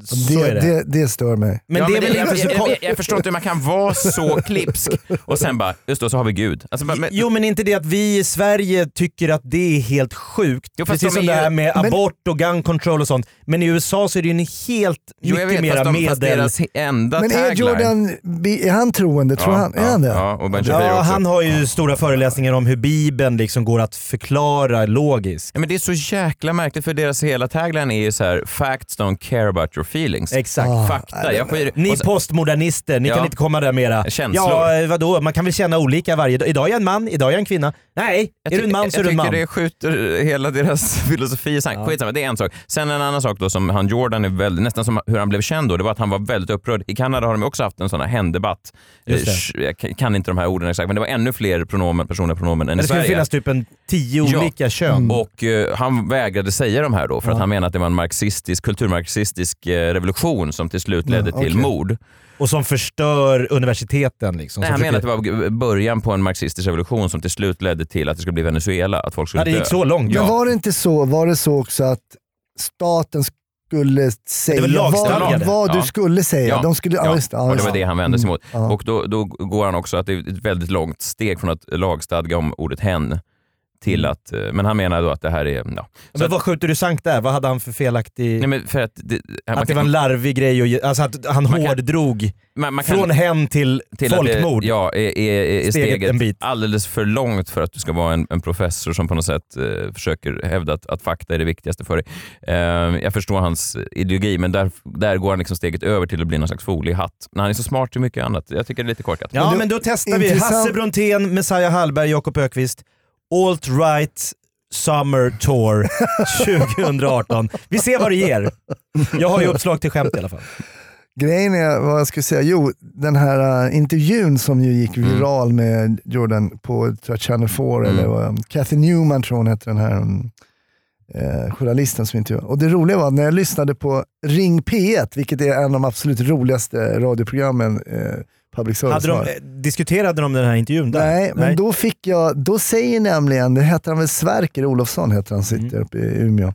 Så
det,
är det.
det. Det, stör mig.
Men
ja,
det är väl
jag,
inte
jag,
så
jag,
kon-
jag förstår inte hur man kan vara så klipsk och sen bara, just då så har vi Gud. Alltså, bara, men,
Jo men inte det att vi i Sverige tycker att det är helt sjukt.
Jo, fast
Precis
de
som
är
det här
ju-
med
Men-
abort och gun control och sånt. Men i USA så är det ju en helt
jo, jag
mycket
vet, fast,
mera
de, fast
medel...
deras enda
Men är
tagline...
Jordan, är han troende? Tror han, är
ja,
han det?
Ja, och Ben Shapiro
Ja,
också.
han har ju stora föreläsningar om hur bibeln liksom går att förklara logiskt.
Ja, men det är så jäkla märkligt för deras hela tagline är ju så här: “Facts don't care about your feelings”.
Exakt.
Ah.
Fakta, jag skiter
Ni
och så-
postmodernister, ni
Ja.
kan inte komma där mera.
Känslor.
Ja, eh, vadå? Man kan väl känna olika varje dag. Idag är jag en man, idag är jag en kvinna. Nej, är du en
tycker-
man så är du en man.
Jag tycker det skjuter hela deras filosofi i sank. Skitsamma, det är en sak. Sen en annan sak då som han Jordan är väldigt, nästan som hur han blev känd då, det var att han var väldigt upprörd. I Kanada har de också haft en sån här hen-debatt. Eh,
Just det.
sh- Jag kan- kan inte de här orden exakt, men det var ännu fler pronomen, personliga pronomen än
Men
i
det skulle
Sverige.
finnas typ en tio
Ja. Mm.
olika kön.
Och eh, han vägrade säga de här då för att han menade att det var en marxistisk, kulturmarxistisk eh, revolution som till slut ledde till mord.
Och som förstör universiteten. Liksom.
Nej,
Som
han menade att
försöker-
det var g- början på en marxistisk revolution som till slut ledde till att det skulle bli Venezuela, att folk skulle
ja, det
dö.
gick så långt.
Ja.
Men var det inte så, var det så också att staten skulle säga vad,
lagstadgade.
vad
Ja.
du skulle säga?
Ja.
De skulle, ja,
Ja,
just, ja,
och det
just.
var det han vände sig
Mm.
mot.
Ja.
Och då, då går han också att det är ett väldigt långt steg från att lagstadga om ordet hen till
Mm.
att, eh, men han menar då att det här är, ja. Så
Men
att,
vad skjuter du sank där? Vad hade han för felaktig...
nej men för att det, man
att det
kan-
var en larvig grej och ge- alltså att han
kan-
hårddrog
man, man kan-
från hen till,
till att det-
folkmord.
Ja, är, är, är
Steget
steget,
en bit.
alldeles för långt för att du ska vara en, en professor som på något sätt eh, försöker hävda att, att fakta är det viktigaste för dig. Eh, jag förstår hans ideologi, men där, där går han liksom steget över till att bli någon slags foliehatt. Men han är så smart i mycket annat. Jag tycker det är lite korkat.
Ja, men,
Men du-
då testar vi
intressant-
Hasse Brontén, Messiah Hallberg, Jakob Ökvist Alt-Right Summer Tour 2018. Vi ser vad det ger. Jag har ju uppslag till skämt i alla fall.
Grejen är, vad jag skulle säga, jo den här äh, intervjun som ju gick
Mm.
viral med Jordan på tror jag, Channel 4, eller vad, Kathy Newman tror hon heter den här um, eh, journalisten som intervjuade. Och det roliga var att när jag lyssnade på Ring P1, vilket är en av de absolut roligaste radioprogrammen eh, public service
Hade de,
har.
eh, diskuterade de den här intervjun där?
Nej, men då fick jag, då säger nämligen, det heter han väl Sverker Olofsson, heter han, sitter
Mm.
uppe i Umeå.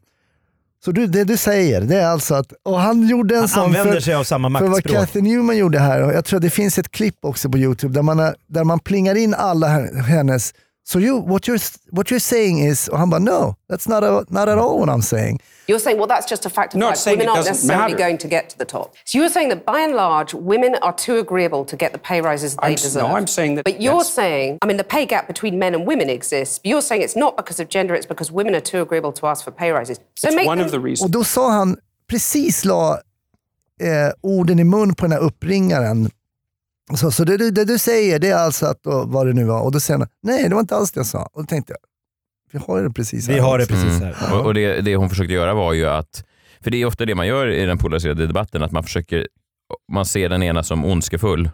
Så du, det du säger, det är alltså att, och han gjorde en
Han
sån
använder
för,
sig av samma
för vad
maktspråk.
Kathy Newman gjorde här, och jag tror det finns ett klipp också på YouTube där man, har- där man plingar in alla he- hennes So you, what you're, what you're saying is, och han bara no, that's not, a, not at all what I'm saying.
You're saying, well, that's just a fact of
Not
life.
saying
Women
it
aren't
doesn't
necessarily
matter.
going to get to the top. So you're saying that by and large, women are too agreeable to get the pay rises they
I'm s-
deserve.
no, I'm saying that-
But you're
yes.
saying, I mean, the pay gap between men and women exists. But you're saying it's not because of gender; it's because women are too agreeable to ask for pay rises. So
It's
make
one
them-
of the reasons.
Och då sa han, precis la eh, orden i mun på den här uppringaren. Och Så, så det, du- det du säger, det är alltså att, då, vad det nu var. Och då säger han, nej det var inte alls det jag sa. Och då tänkte jag, vi har det precis här.
Vi har det precis här.
Mm. Och, och det, det hon försökte göra var ju att, för det är ofta det man gör i den polariserade debatten, att man försöker, man ser den ena som ondskefull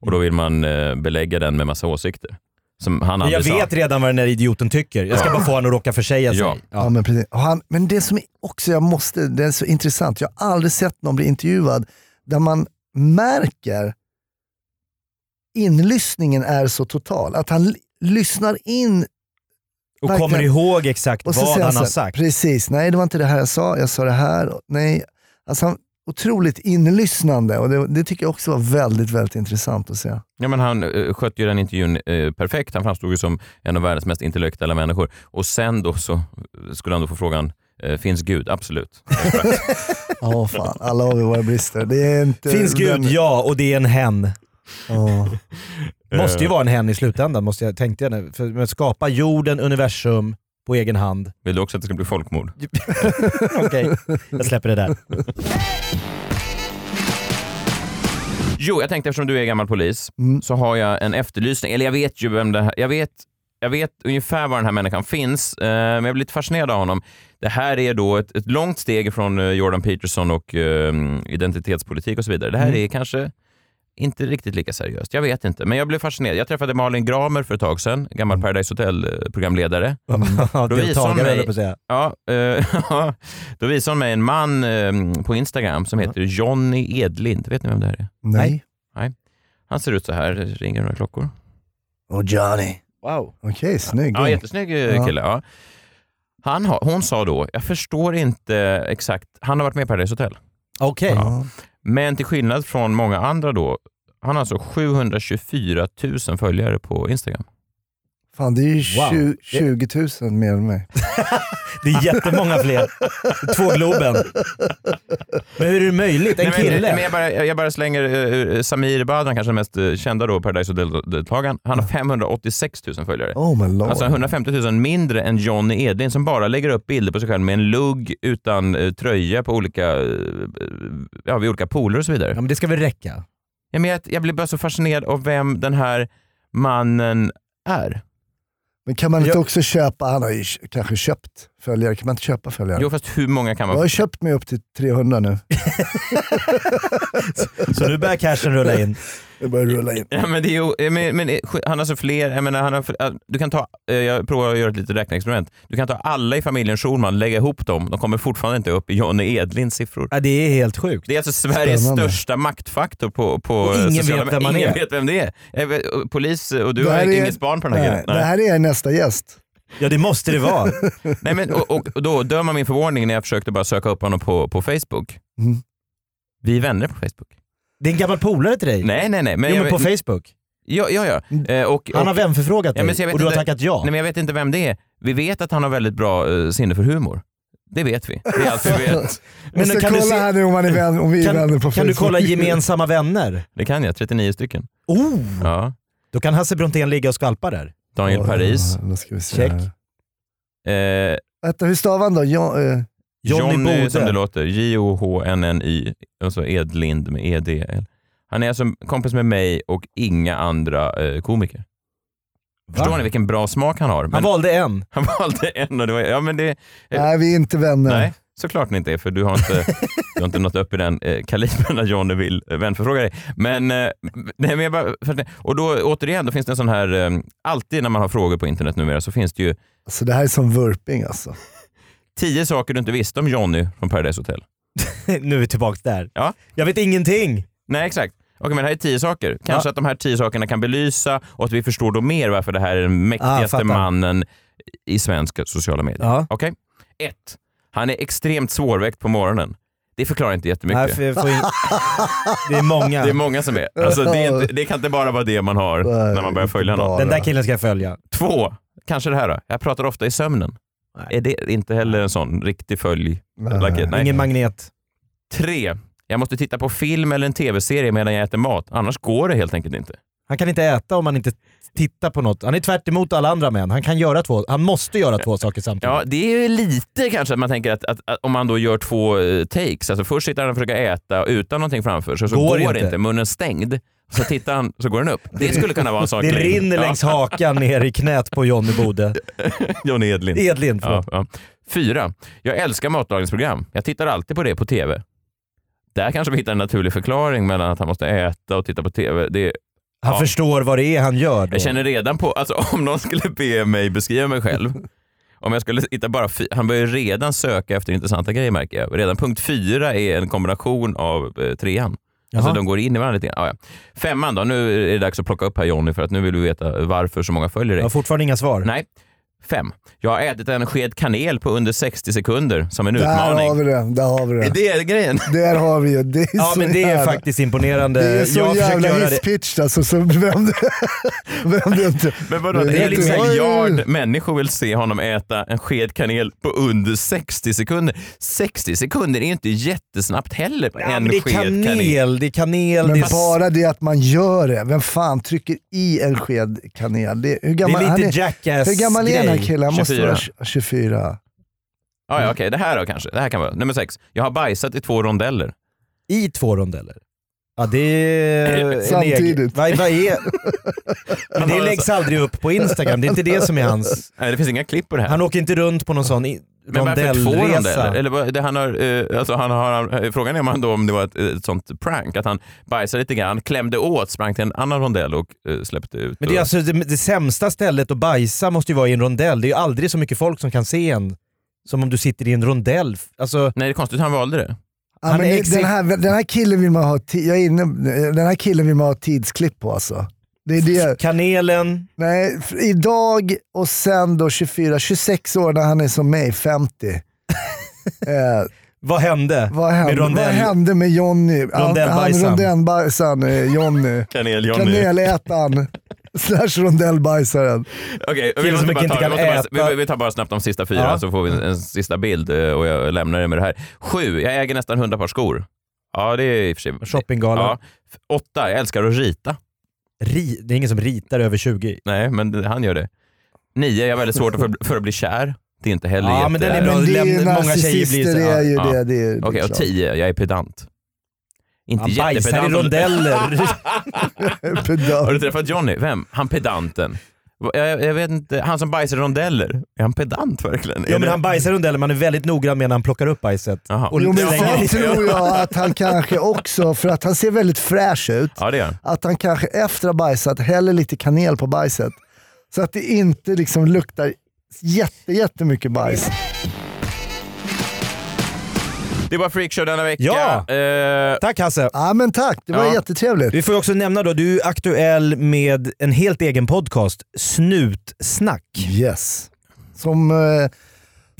och då vill man eh, belägga den med massa åsikter. Som han
Men Jag
aldrig sa.
vet redan vad den där idioten tycker. Jag ska bara få honom att råka försäga sig.
Ja.
Ja, men, precis. Och han, men det som är också jag måste, det är så intressant, jag har aldrig sett någon bli intervjuad där man märker inlyssningen är så total. Att han l- lyssnar in
Och
Verkligen.
kommer ihåg exakt
Och så
vad
säger
han har
så här,
sagt.
Precis, nej det var inte det här jag sa, jag sa det här. Och Nej. Alltså, han, otroligt inlyssnande och det, det tycker jag också var väldigt, väldigt intressant att se.
Ja, men han eh, skötte ju den intervjun eh, perfekt. Han framstod ju som en av världens mest intellektuella människor. Och sen då så skulle han då få frågan, eh, finns Gud? Absolut.
Ja, fan, alla har vi våra brister. Det är inte...
Finns Gud?
men-
Ja, och det är en hen.
Ja.
Eh.
Måste ju vara en hen i slutändan, måste jag, tänkte jag. nu. För, men skapa jorden, universum på egen hand.
Vill du också att det ska bli folkmord?
Okej, jag släpper det där.
Jo, jag tänkte eftersom du är gammal polis så har jag en efterlysning. Eller jag vet ju vem det här... Jag vet, jag vet ungefär var den här människan finns, eh, men jag blir lite fascinerad av honom. Det här är då ett, ett långt steg från eh, Jordan Peterson och eh, identitetspolitik och så vidare. Det här är kanske inte riktigt lika seriöst. Jag vet inte, men jag blev fascinerad. Jag träffade Malin Gramer för ett tag sedan, gammal Paradise Hotel-programledare.
Mm.
Då visar hon
Deltagare
mig-
höll jag på att säga.
Ja, eh, då visade hon mig en man eh, på Instagram som heter Johnny Edlind. Vet ni vem det här är?
Nej.
Han ser ut så här, ringer några klockor.
Och Johnny.
Wow.
Okej, snygg.
Ja, jättesnygg eh,
Ja.
kille. Ja. Han har, hon sa då, jag förstår inte exakt, han har varit med i Paradise Hotel.
Okej.
Ja.
Men till skillnad från många andra då, han har alltså 724 000 följare på Instagram.
Fan, det är ju
Wow.
tju- 20 000 mer än mig.
Det är jättemånga fler. Två Globen. Men hur är det möjligt? En
Nej, men-
kille?
Men jag, bara, jag bara slänger eh, Samir Badran, kanske den mest eh, kända då Paradise Hotel-deltagaren. Han har 586 000 följare.
Oh my lord.
Alltså 150 000 mindre än Johnny Edlin som bara lägger upp bilder på sig själv med en lugg utan eh, tröja på olika, eh, ja, vid olika poler och så vidare.
Ja, men det ska väl räcka?
Ja, men jag, jag blir bara så fascinerad av vem den här mannen är.
Men kan man inte
Jag-
också köpa, han har ju k- kanske köpt följare, kan man inte köpa följare?
Jo, fast hur många kan
jag har
man?
köpt mig upp till 300 nu.
Så nu börjar cashen rulla in.
Det börjar rulla in.
Ja, men det är ju, ja, men, men, eh, han har så fler, jag menar, han har, för- eh, du kan ta, eh, jag provar att göra ett litet räkneexperiment. Du kan ta alla i familjen Schulman, lägga ihop dem, de kommer fortfarande inte upp i Johnny Edlins siffror.
Ja, det är helt sjukt.
Det är alltså Sveriges
Spännande.
största maktfaktor på, på
Och ingen
eh,
vet vem han
ingen
är.
vet vem det är. Eh, ve- och Polis eh, och du
Det
har
här är-
inget barn på den här
Nej,
killen.
det här är nästa gäst.
Ja, det måste det vara.
Nej, men, och, och, och då döm av min förvåning när jag försökte bara söka upp honom på, på Facebook.
Mm.
Vi är vänner på Facebook.
Det är en gammal polare till dig.
Nej, nej, nej. Men
jo, men på
jag,
Facebook. Mm.
ja, ja, ja. Eh, och,
Han har
och,
vänförfrågat
Ja, men så
dig
jag vet
och du har
inte-
tackat ja.
nej, men jag vet inte vem det är. Vi vet att han har väldigt bra eh, sinne för humor. Det vet vi. Det är allt vi vet.
Men ska
kan
kolla
du se-
här nu om, man är vän, om vi är vänner på
kan,
Facebook.
kan du kolla gemensamma vänner?
Det kan jag. 39 stycken.
Oh!
Ja.
Då kan Hasse Brontén ligga och skvalpa där.
Daniel Paris.
Ja, då ska vi se
Check.
här.
Eh,
Vänta, hur stavar han då? Ja, eh,
Johnny Bode.
som det låter. J-O-H-N-N-Y. Och så Edlind Alltså med E-D-L. Han är alltså kompis med mig och inga andra eh, komiker. Förstår ni vilken bra smak han har? Men
Han valde en.
han valde en och det var... Ja, men det,
nej, vi är inte vänner.
Nej, såklart ni inte är, för du har inte, du har inte nått upp i den eh, kalibern där Johnny vill eh, vänförfråga dig. Men, eh, nej, men jag bara, för, och då återigen, då finns det en sån här, eh, alltid när man har frågor på internet numera så finns det ju,
Alltså, det här är som vurping alltså.
Tio saker du inte visste om Johnny från Paradise Hotel.
nu är vi tillbaka där.
Ja.
Jag vet ingenting.
Nej, exakt. Okej, men det här är tio saker. Kanske att de här tio sakerna kan belysa och att vi förstår då mer varför det här är den
Ah,
mäktigaste
fattar.
mannen i svenska sociala medier.
Ja.
Okej? Ett. Han är extremt svårväckt på morgonen. Det förklarar inte jättemycket.
Nej, för jag får in... Det är många.
Det är många som är. Alltså, det, är inte, det kan inte bara vara det man har
Nej,
när man börjar följa
inte
någon.
bara.
Den där killen ska jag följa.
Två, kanske det här då. Jag pratar ofta i sömnen.
Nej.
Är det inte heller en sån riktig följ?
Nej.
Like it, nej.
Ingen magnet.
Tre, jag måste titta på film eller en tv-serie medan jag äter mat. Annars går det helt enkelt inte.
Han kan inte äta om han inte tittar på något. Han är tvärt emot alla andra män. Han kan göra två, han måste göra två saker samtidigt.
Ja, det är ju lite kanske att man tänker att, att, att om man då gör två eh, takes, alltså först sitter han och försöker äta utan någonting framför sig, så
Går
går, det
inte.
inte. Munnen stängd. Så tittar han, så går den upp. Det skulle kunna vara en sak.
det
Lin.
rinner
Ja.
längs hakan ner i knät på Johnny Bode.
Johnny Edlin.
Edlin,
Ja,
förlåt.
ja. Fyra. Jag älskar matlagningsprogram. Jag tittar alltid på det på tv. Där kanske vi hittar en naturlig förklaring mellan att han måste äta och titta på tv. Det,
Han
Ja.
förstår vad det är han gör. Då.
jag känner redan på, alltså om någon skulle be mig beskriva mig själv, om jag skulle hitta bara fy, han börjar ju redan söka efter intressanta grejer märker jag. Redan punkt fyra är en kombination av eh, trean. Alltså
Jaha.
de går in i varandra lite grann. Ja, ja. Femman då, nu är det dags att plocka upp här Jonny för att nu vill vi veta varför så många följer dig.
Jag har fortfarande inga svar.
Nej. Fem. Jag har ätit en sked kanel på under 60 sekunder som en
Där har
utmaning.
vi det. Där har vi
Är
det.
det grejen?
Där har vi det. Det är
Ja,
så
men det är
jävla,
faktiskt imponerande.
det är så
jag har försökt
jävla
göra det.
hisspitched alltså. Så vem, det- vem det inte...
Men vadå,
Det
det
är
är liksom
inte-
en miljard människor vill se honom äta en sked kanel på under 60 sekunder. 60 sekunder är ju inte jättesnabbt heller på
Ja,
en
men det är
sked kanel.
kanel, det är kanel.
Men
det är
bara det att man gör det. Vem fan trycker i en sked kanel? Det, hur
Det
gammal,
är
han
lite jackass
hur gammal är den här killen? Han måste
24.
vara 24.
Ja, ja, okej, det här då kanske. Det här kan vara. Nummer sex. Jag har bajsat i två rondeller.
I två rondeller? Ja, det är... en egen-
Samtidigt.
Vad, vad är... Men det läggs aldrig upp på Instagram, det är inte det som är hans...
Nej, det finns inga klipp på det här.
Han åker inte runt på någon sån i-
men varför två rondeller?
rondellresa.
Eller vad- det han har, eh, alltså han har, eh, frågan är om, han då, om det var ett, ett sånt prank, att han bajsade lite grann, klämde åt, sprang till en annan rondell och eh, släppte ut.
Men det, är
och,
alltså, det, det sämsta stället att bajsa måste ju vara i en rondell. Det är ju aldrig så mycket folk som kan se en som om du sitter i en rondell. Alltså,
Nej, det är konstigt hur han valde det.
Ja,
Han
men
är
det- den,
exi-
här, den här killen vill man ha, ti- jag är inne, den här killen vill man ha tidsklipp på alltså. Det är det.
kanelen,
Nej, f- idag och sen då 24, 26 år när han är som mig, 50. eh,
vad hände?
vad, hände,
Med
vad
rondell?
hände med Jonny? Han, han
Rondellbajsaren.
rondellbajsaren eh, Jonny.
Kanel-Johnny.
Kanelätaren slash rondellbajsaren.
Okej, vi,
Killen
måste
som
bara ta,
inte
vi,
kan
måste bara,
äta.
vi, vi tar bara snabbt de sista fyra
Ja.
så får vi en, en sista bild eh, och jag lämnar det med det här. Sju, jag äger nästan hundra par skor. Ja, det är i och för sig...
Shoppinggala.
Ja. F- Åtta, jag älskar att rita.
Ri, det är ingen som ritar över 20.
Nej, men han gör det. Nio, jag har väldigt svårt för, för att bli kär. Det är inte heller
Ja, men den är
jätte-
bra.
Men det är ju
lämnar- många tjejer blir
narcissister,
så-
det
ja,
är ju
ja.
det. det, är, det är
Okej, och
klart.
tio, jag är pedant. Inte
Han bajsar i
jättepedant.
rondeller.
Har du
Pedant.
träffat Johnny? Vem? Han pedanten. Va- Jag, jag vet inte, han som bajsar i rondeller. Är han pedant verkligen?
Ja men han bajsar i rondeller, man är väldigt noggrann med när han plockar upp bajset.
Aha.
Och
Jo, men
slänger
sen
i-
tror jag att han kanske också, för att han ser väldigt fräsch ut,
Ja, det gör han.
att han kanske efter att ha bajsat häller lite kanel på bajset. Så att det inte liksom luktar jätte, jättemycket bajs.
Det var Freakshow denna vecka.
Ja!
Eh,
Tack Hasse!
Ja men tack, det var
Ja.
jättetrevligt.
Vi får ju också nämna då, du är aktuell med en helt egen podcast, Snutsnack.
Yes. Som, eh,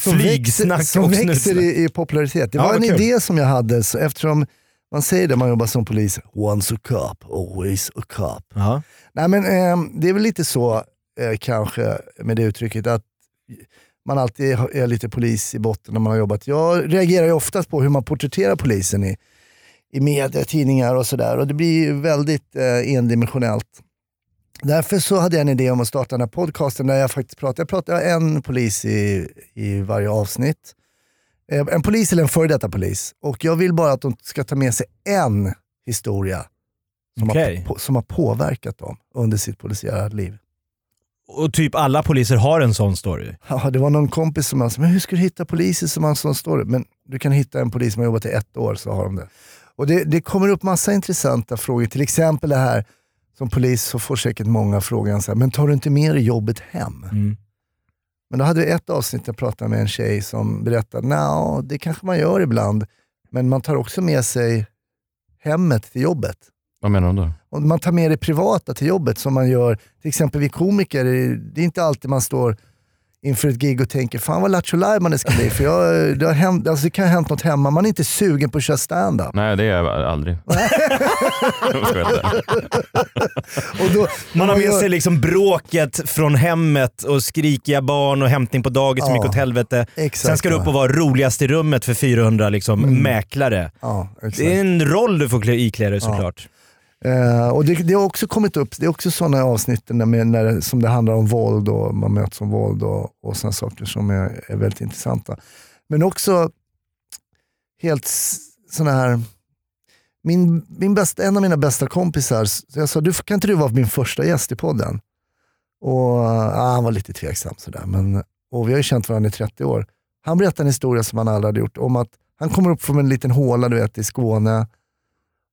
som växer,
Flygsnack
som
och
växer
snutsnack.
i, i popularitet. Det
Ja,
var
vad
en
kul.
idé som jag hade, så eftersom man säger det, man jobbar som polis, once a cop, always a cop.
Ja.
Nej, men, ehm, det är väl lite så eh, kanske med det uttrycket att man alltid har- är lite polis i botten när man har jobbat. Jag reagerar ju oftast på hur man porträtterar polisen i, i media, tidningar och sådär. Och det blir ju väldigt eh, endimensionellt. Därför så hade jag en idé om att starta den här podcasten där jag faktiskt pratar. Jag pratar en polis i, i varje avsnitt. Eh, En polis eller en före detta polis. Och jag vill bara att de ska ta med sig en historia som,
Okej.
har, på, som har påverkat dem under sitt polisiära liv.
Och typ alla poliser har en sån story.
Ja, det var någon kompis som sa, men hur ska du hitta poliser som har en sån story? Men du kan hitta en polis som har jobbat i ett år, så har de det. Och det, det kommer upp massa intressanta frågor, till exempel det här, som polis så får säkert många frågan så här, men tar du inte med dig jobbet hem? Men då hade vi ett avsnitt där jag pratade med en tjej som berättade, nja, det kanske man gör ibland, men man tar också med sig hemmet till jobbet.
Vad menar de då?
Och man tar med det privata till jobbet som man gör, till exempel vi komiker, det är inte alltid man står inför ett gig och tänker, fan vad lattjo lajban det ska bli, för jag, det, har hänt, alltså det kan ha hänt något hemma, man är inte sugen på att köra stand-up.
Nej, det är jag aldrig. Jag skämtar.
Och då,
Man har
då
med
gör-
sig liksom bråket från hemmet och skrikiga barn och hämtning på dagis som
Ja.
gick åt helvete.
Exakt, Mm.
Sen ska du upp
va.
och vara roligast i rummet för 400 liksom, mäklare.
Ja, exakt.
Det är en roll du får klä- iklä dig såklart.
Eh, och det, det har också kommit upp, det är också sådana avsnitt där med, när, som det handlar om våld och man möts om våld och, och sådana saker som är, är väldigt intressanta. Men också helt s- sådana här, min, min bästa, en av mina bästa kompisar, så jag sa, du, kan inte du vara min första gäst i podden? Och ah, Han var lite tveksam sådär, men, och vi har ju känt varandra i 30 år. Han berättade en historia som han aldrig hade gjort, om att han kommer upp från en liten håla du vet, i Skåne,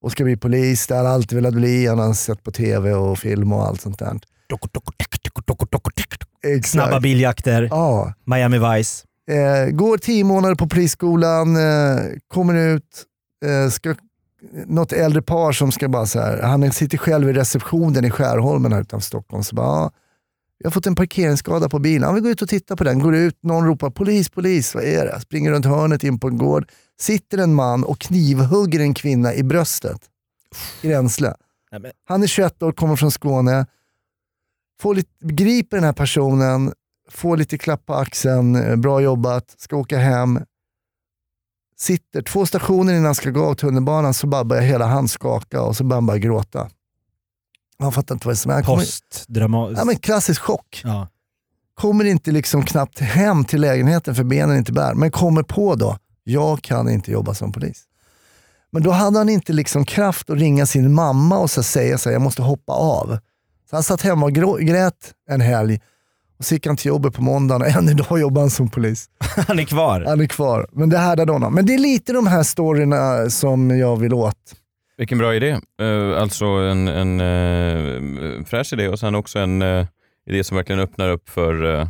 och ska bli polis. Det har han alltid velat bli. Han har sett på tv och film och allt sånt där. Exakt.
Snabba biljakter,
Ja.
Miami Vice.
Eh, går tio månader på polisskolan, eh, kommer ut, eh, ska, något äldre par som ska bara så här, han sitter själv i receptionen i Skärholmen här utanför Stockholm, så bara, "Ah, jag har fått en parkeringsskada på bilen, han vill gå ut och titta på den, går ut, någon ropar polis, polis, vad är det? Springer runt hörnet in på en gård, sitter en man och knivhugger en kvinna i bröstet. Gränsle.
Nej, men-
Han är 21 år, kommer från Skåne, får lite, griper den här personen, får lite klapp på axeln, eh, bra jobbat, ska åka hem. Sitter två stationer innan han ska gå av tunnelbanan så bara börjar hela han skaka och så börjar han bara gråta. Han fattar inte vad det är som händer. Han kommer-
Postdramatiskt.
Ja, men klassisk chock.
Ja.
Kommer inte liksom knappt hem till lägenheten för benen inte bär, men kommer på då, jag kan inte jobba som polis. Men då hade han inte liksom kraft att ringa sin mamma och så säga så här, jag måste hoppa av. Så han satt hemma och grå- grät en helg och så gick han till jobbet på måndagen och än idag jobbar han som polis.
Han är kvar.
Han är kvar, men det härdade honom. Men det är lite de här storyna som jag vill åt.
Vilken bra idé. Eh, Alltså en, en eh, fräsch idé och sen också en eh, idé som verkligen öppnar upp för, eh,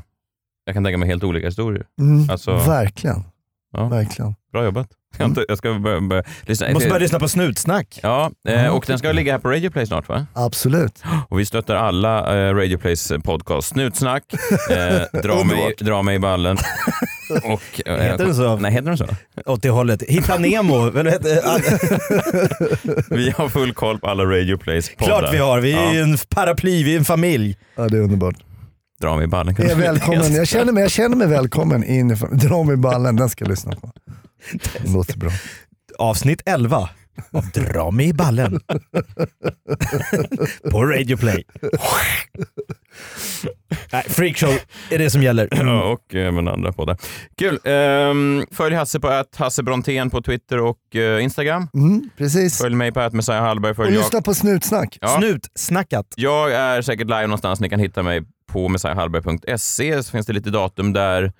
jag kan tänka mig helt olika historier.
Mm,
Alltså-
Verkligen.
Ja.
Verkligen.
Bra jobbat. Jag, inte, jag ska börja, börja lyssna.
Måste börja Mm. lyssna på snutsnack.
Ja, eh,
Ja,
och den ska ligga här på Radio Play snart va?
Absolut.
Och vi stöttar alla eh, Radio Plays podcast. Snutsnack, eh, dra, mig, dra mig i ballen och... eh,
Heter den så?
Nej, heter den så?
Åt det hållet. Hitta Nemo. Eller vad heter- ah,
Vi har full koll på alla Radio Plays poddar.
Klart vi har. Vi är ju
Ja,
en paraply, vi är en familj.
Ja, det är underbart.
dra mig i ballen. kan
Jag är
vi-
välkommen. Jag känner mig, jag känner mig välkommen inifrån. Dra mig i ballen, den ska jag lyssna på. Det låter bra.
Avsnitt 11 av Dra mig i ballen. På Radio Play. Nej, freakshow är det som gäller.
Ja, och även andra poddar. Kul! Ehm, följ Hasse på att Hasse Brontén på Twitter och eh, Instagram.
Mm, precis.
Följ mig på att Messiah Hallberg.
Och
Följ jag.
lyssna på Snutsnack.
Ja.
Snutsnackat.
jag är säkert live någonstans. Ni kan hitta mig på messiahallberg.se så finns det lite datum där.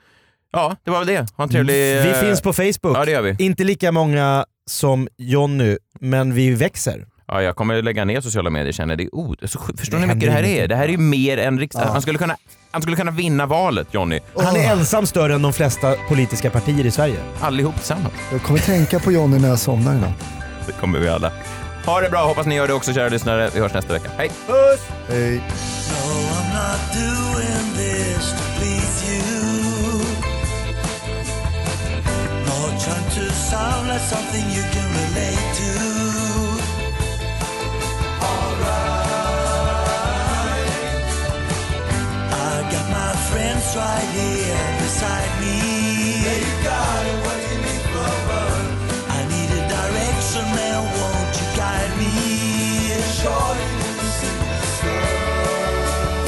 Ja, det var väl det. Ha en trevlig...
Mm, Vi
eh,
finns på Facebook.
Ja, det gör vi.
Inte lika många som Jonny, men vi växer.
Ja, jag kommer lägga ner sociala medier känner jag. Det är oh, det är så sjukt. Förstår
Det
ni hur mycket det här
händer
är?
ingenting.
Det här är ju mer än riksdag. Han, skulle kunna, han skulle kunna vinna valet, Jonny.
Han är ensam större än de flesta politiska partier i Sverige.
Allihop tillsammans.
Jag kommer tänka på Johnny när jag somnar idag.
Det kommer vi alla. Ha det bra. Hoppas ni gör det också, kära lyssnare. Vi hörs nästa vecka. Hej!
Hej.
Oh,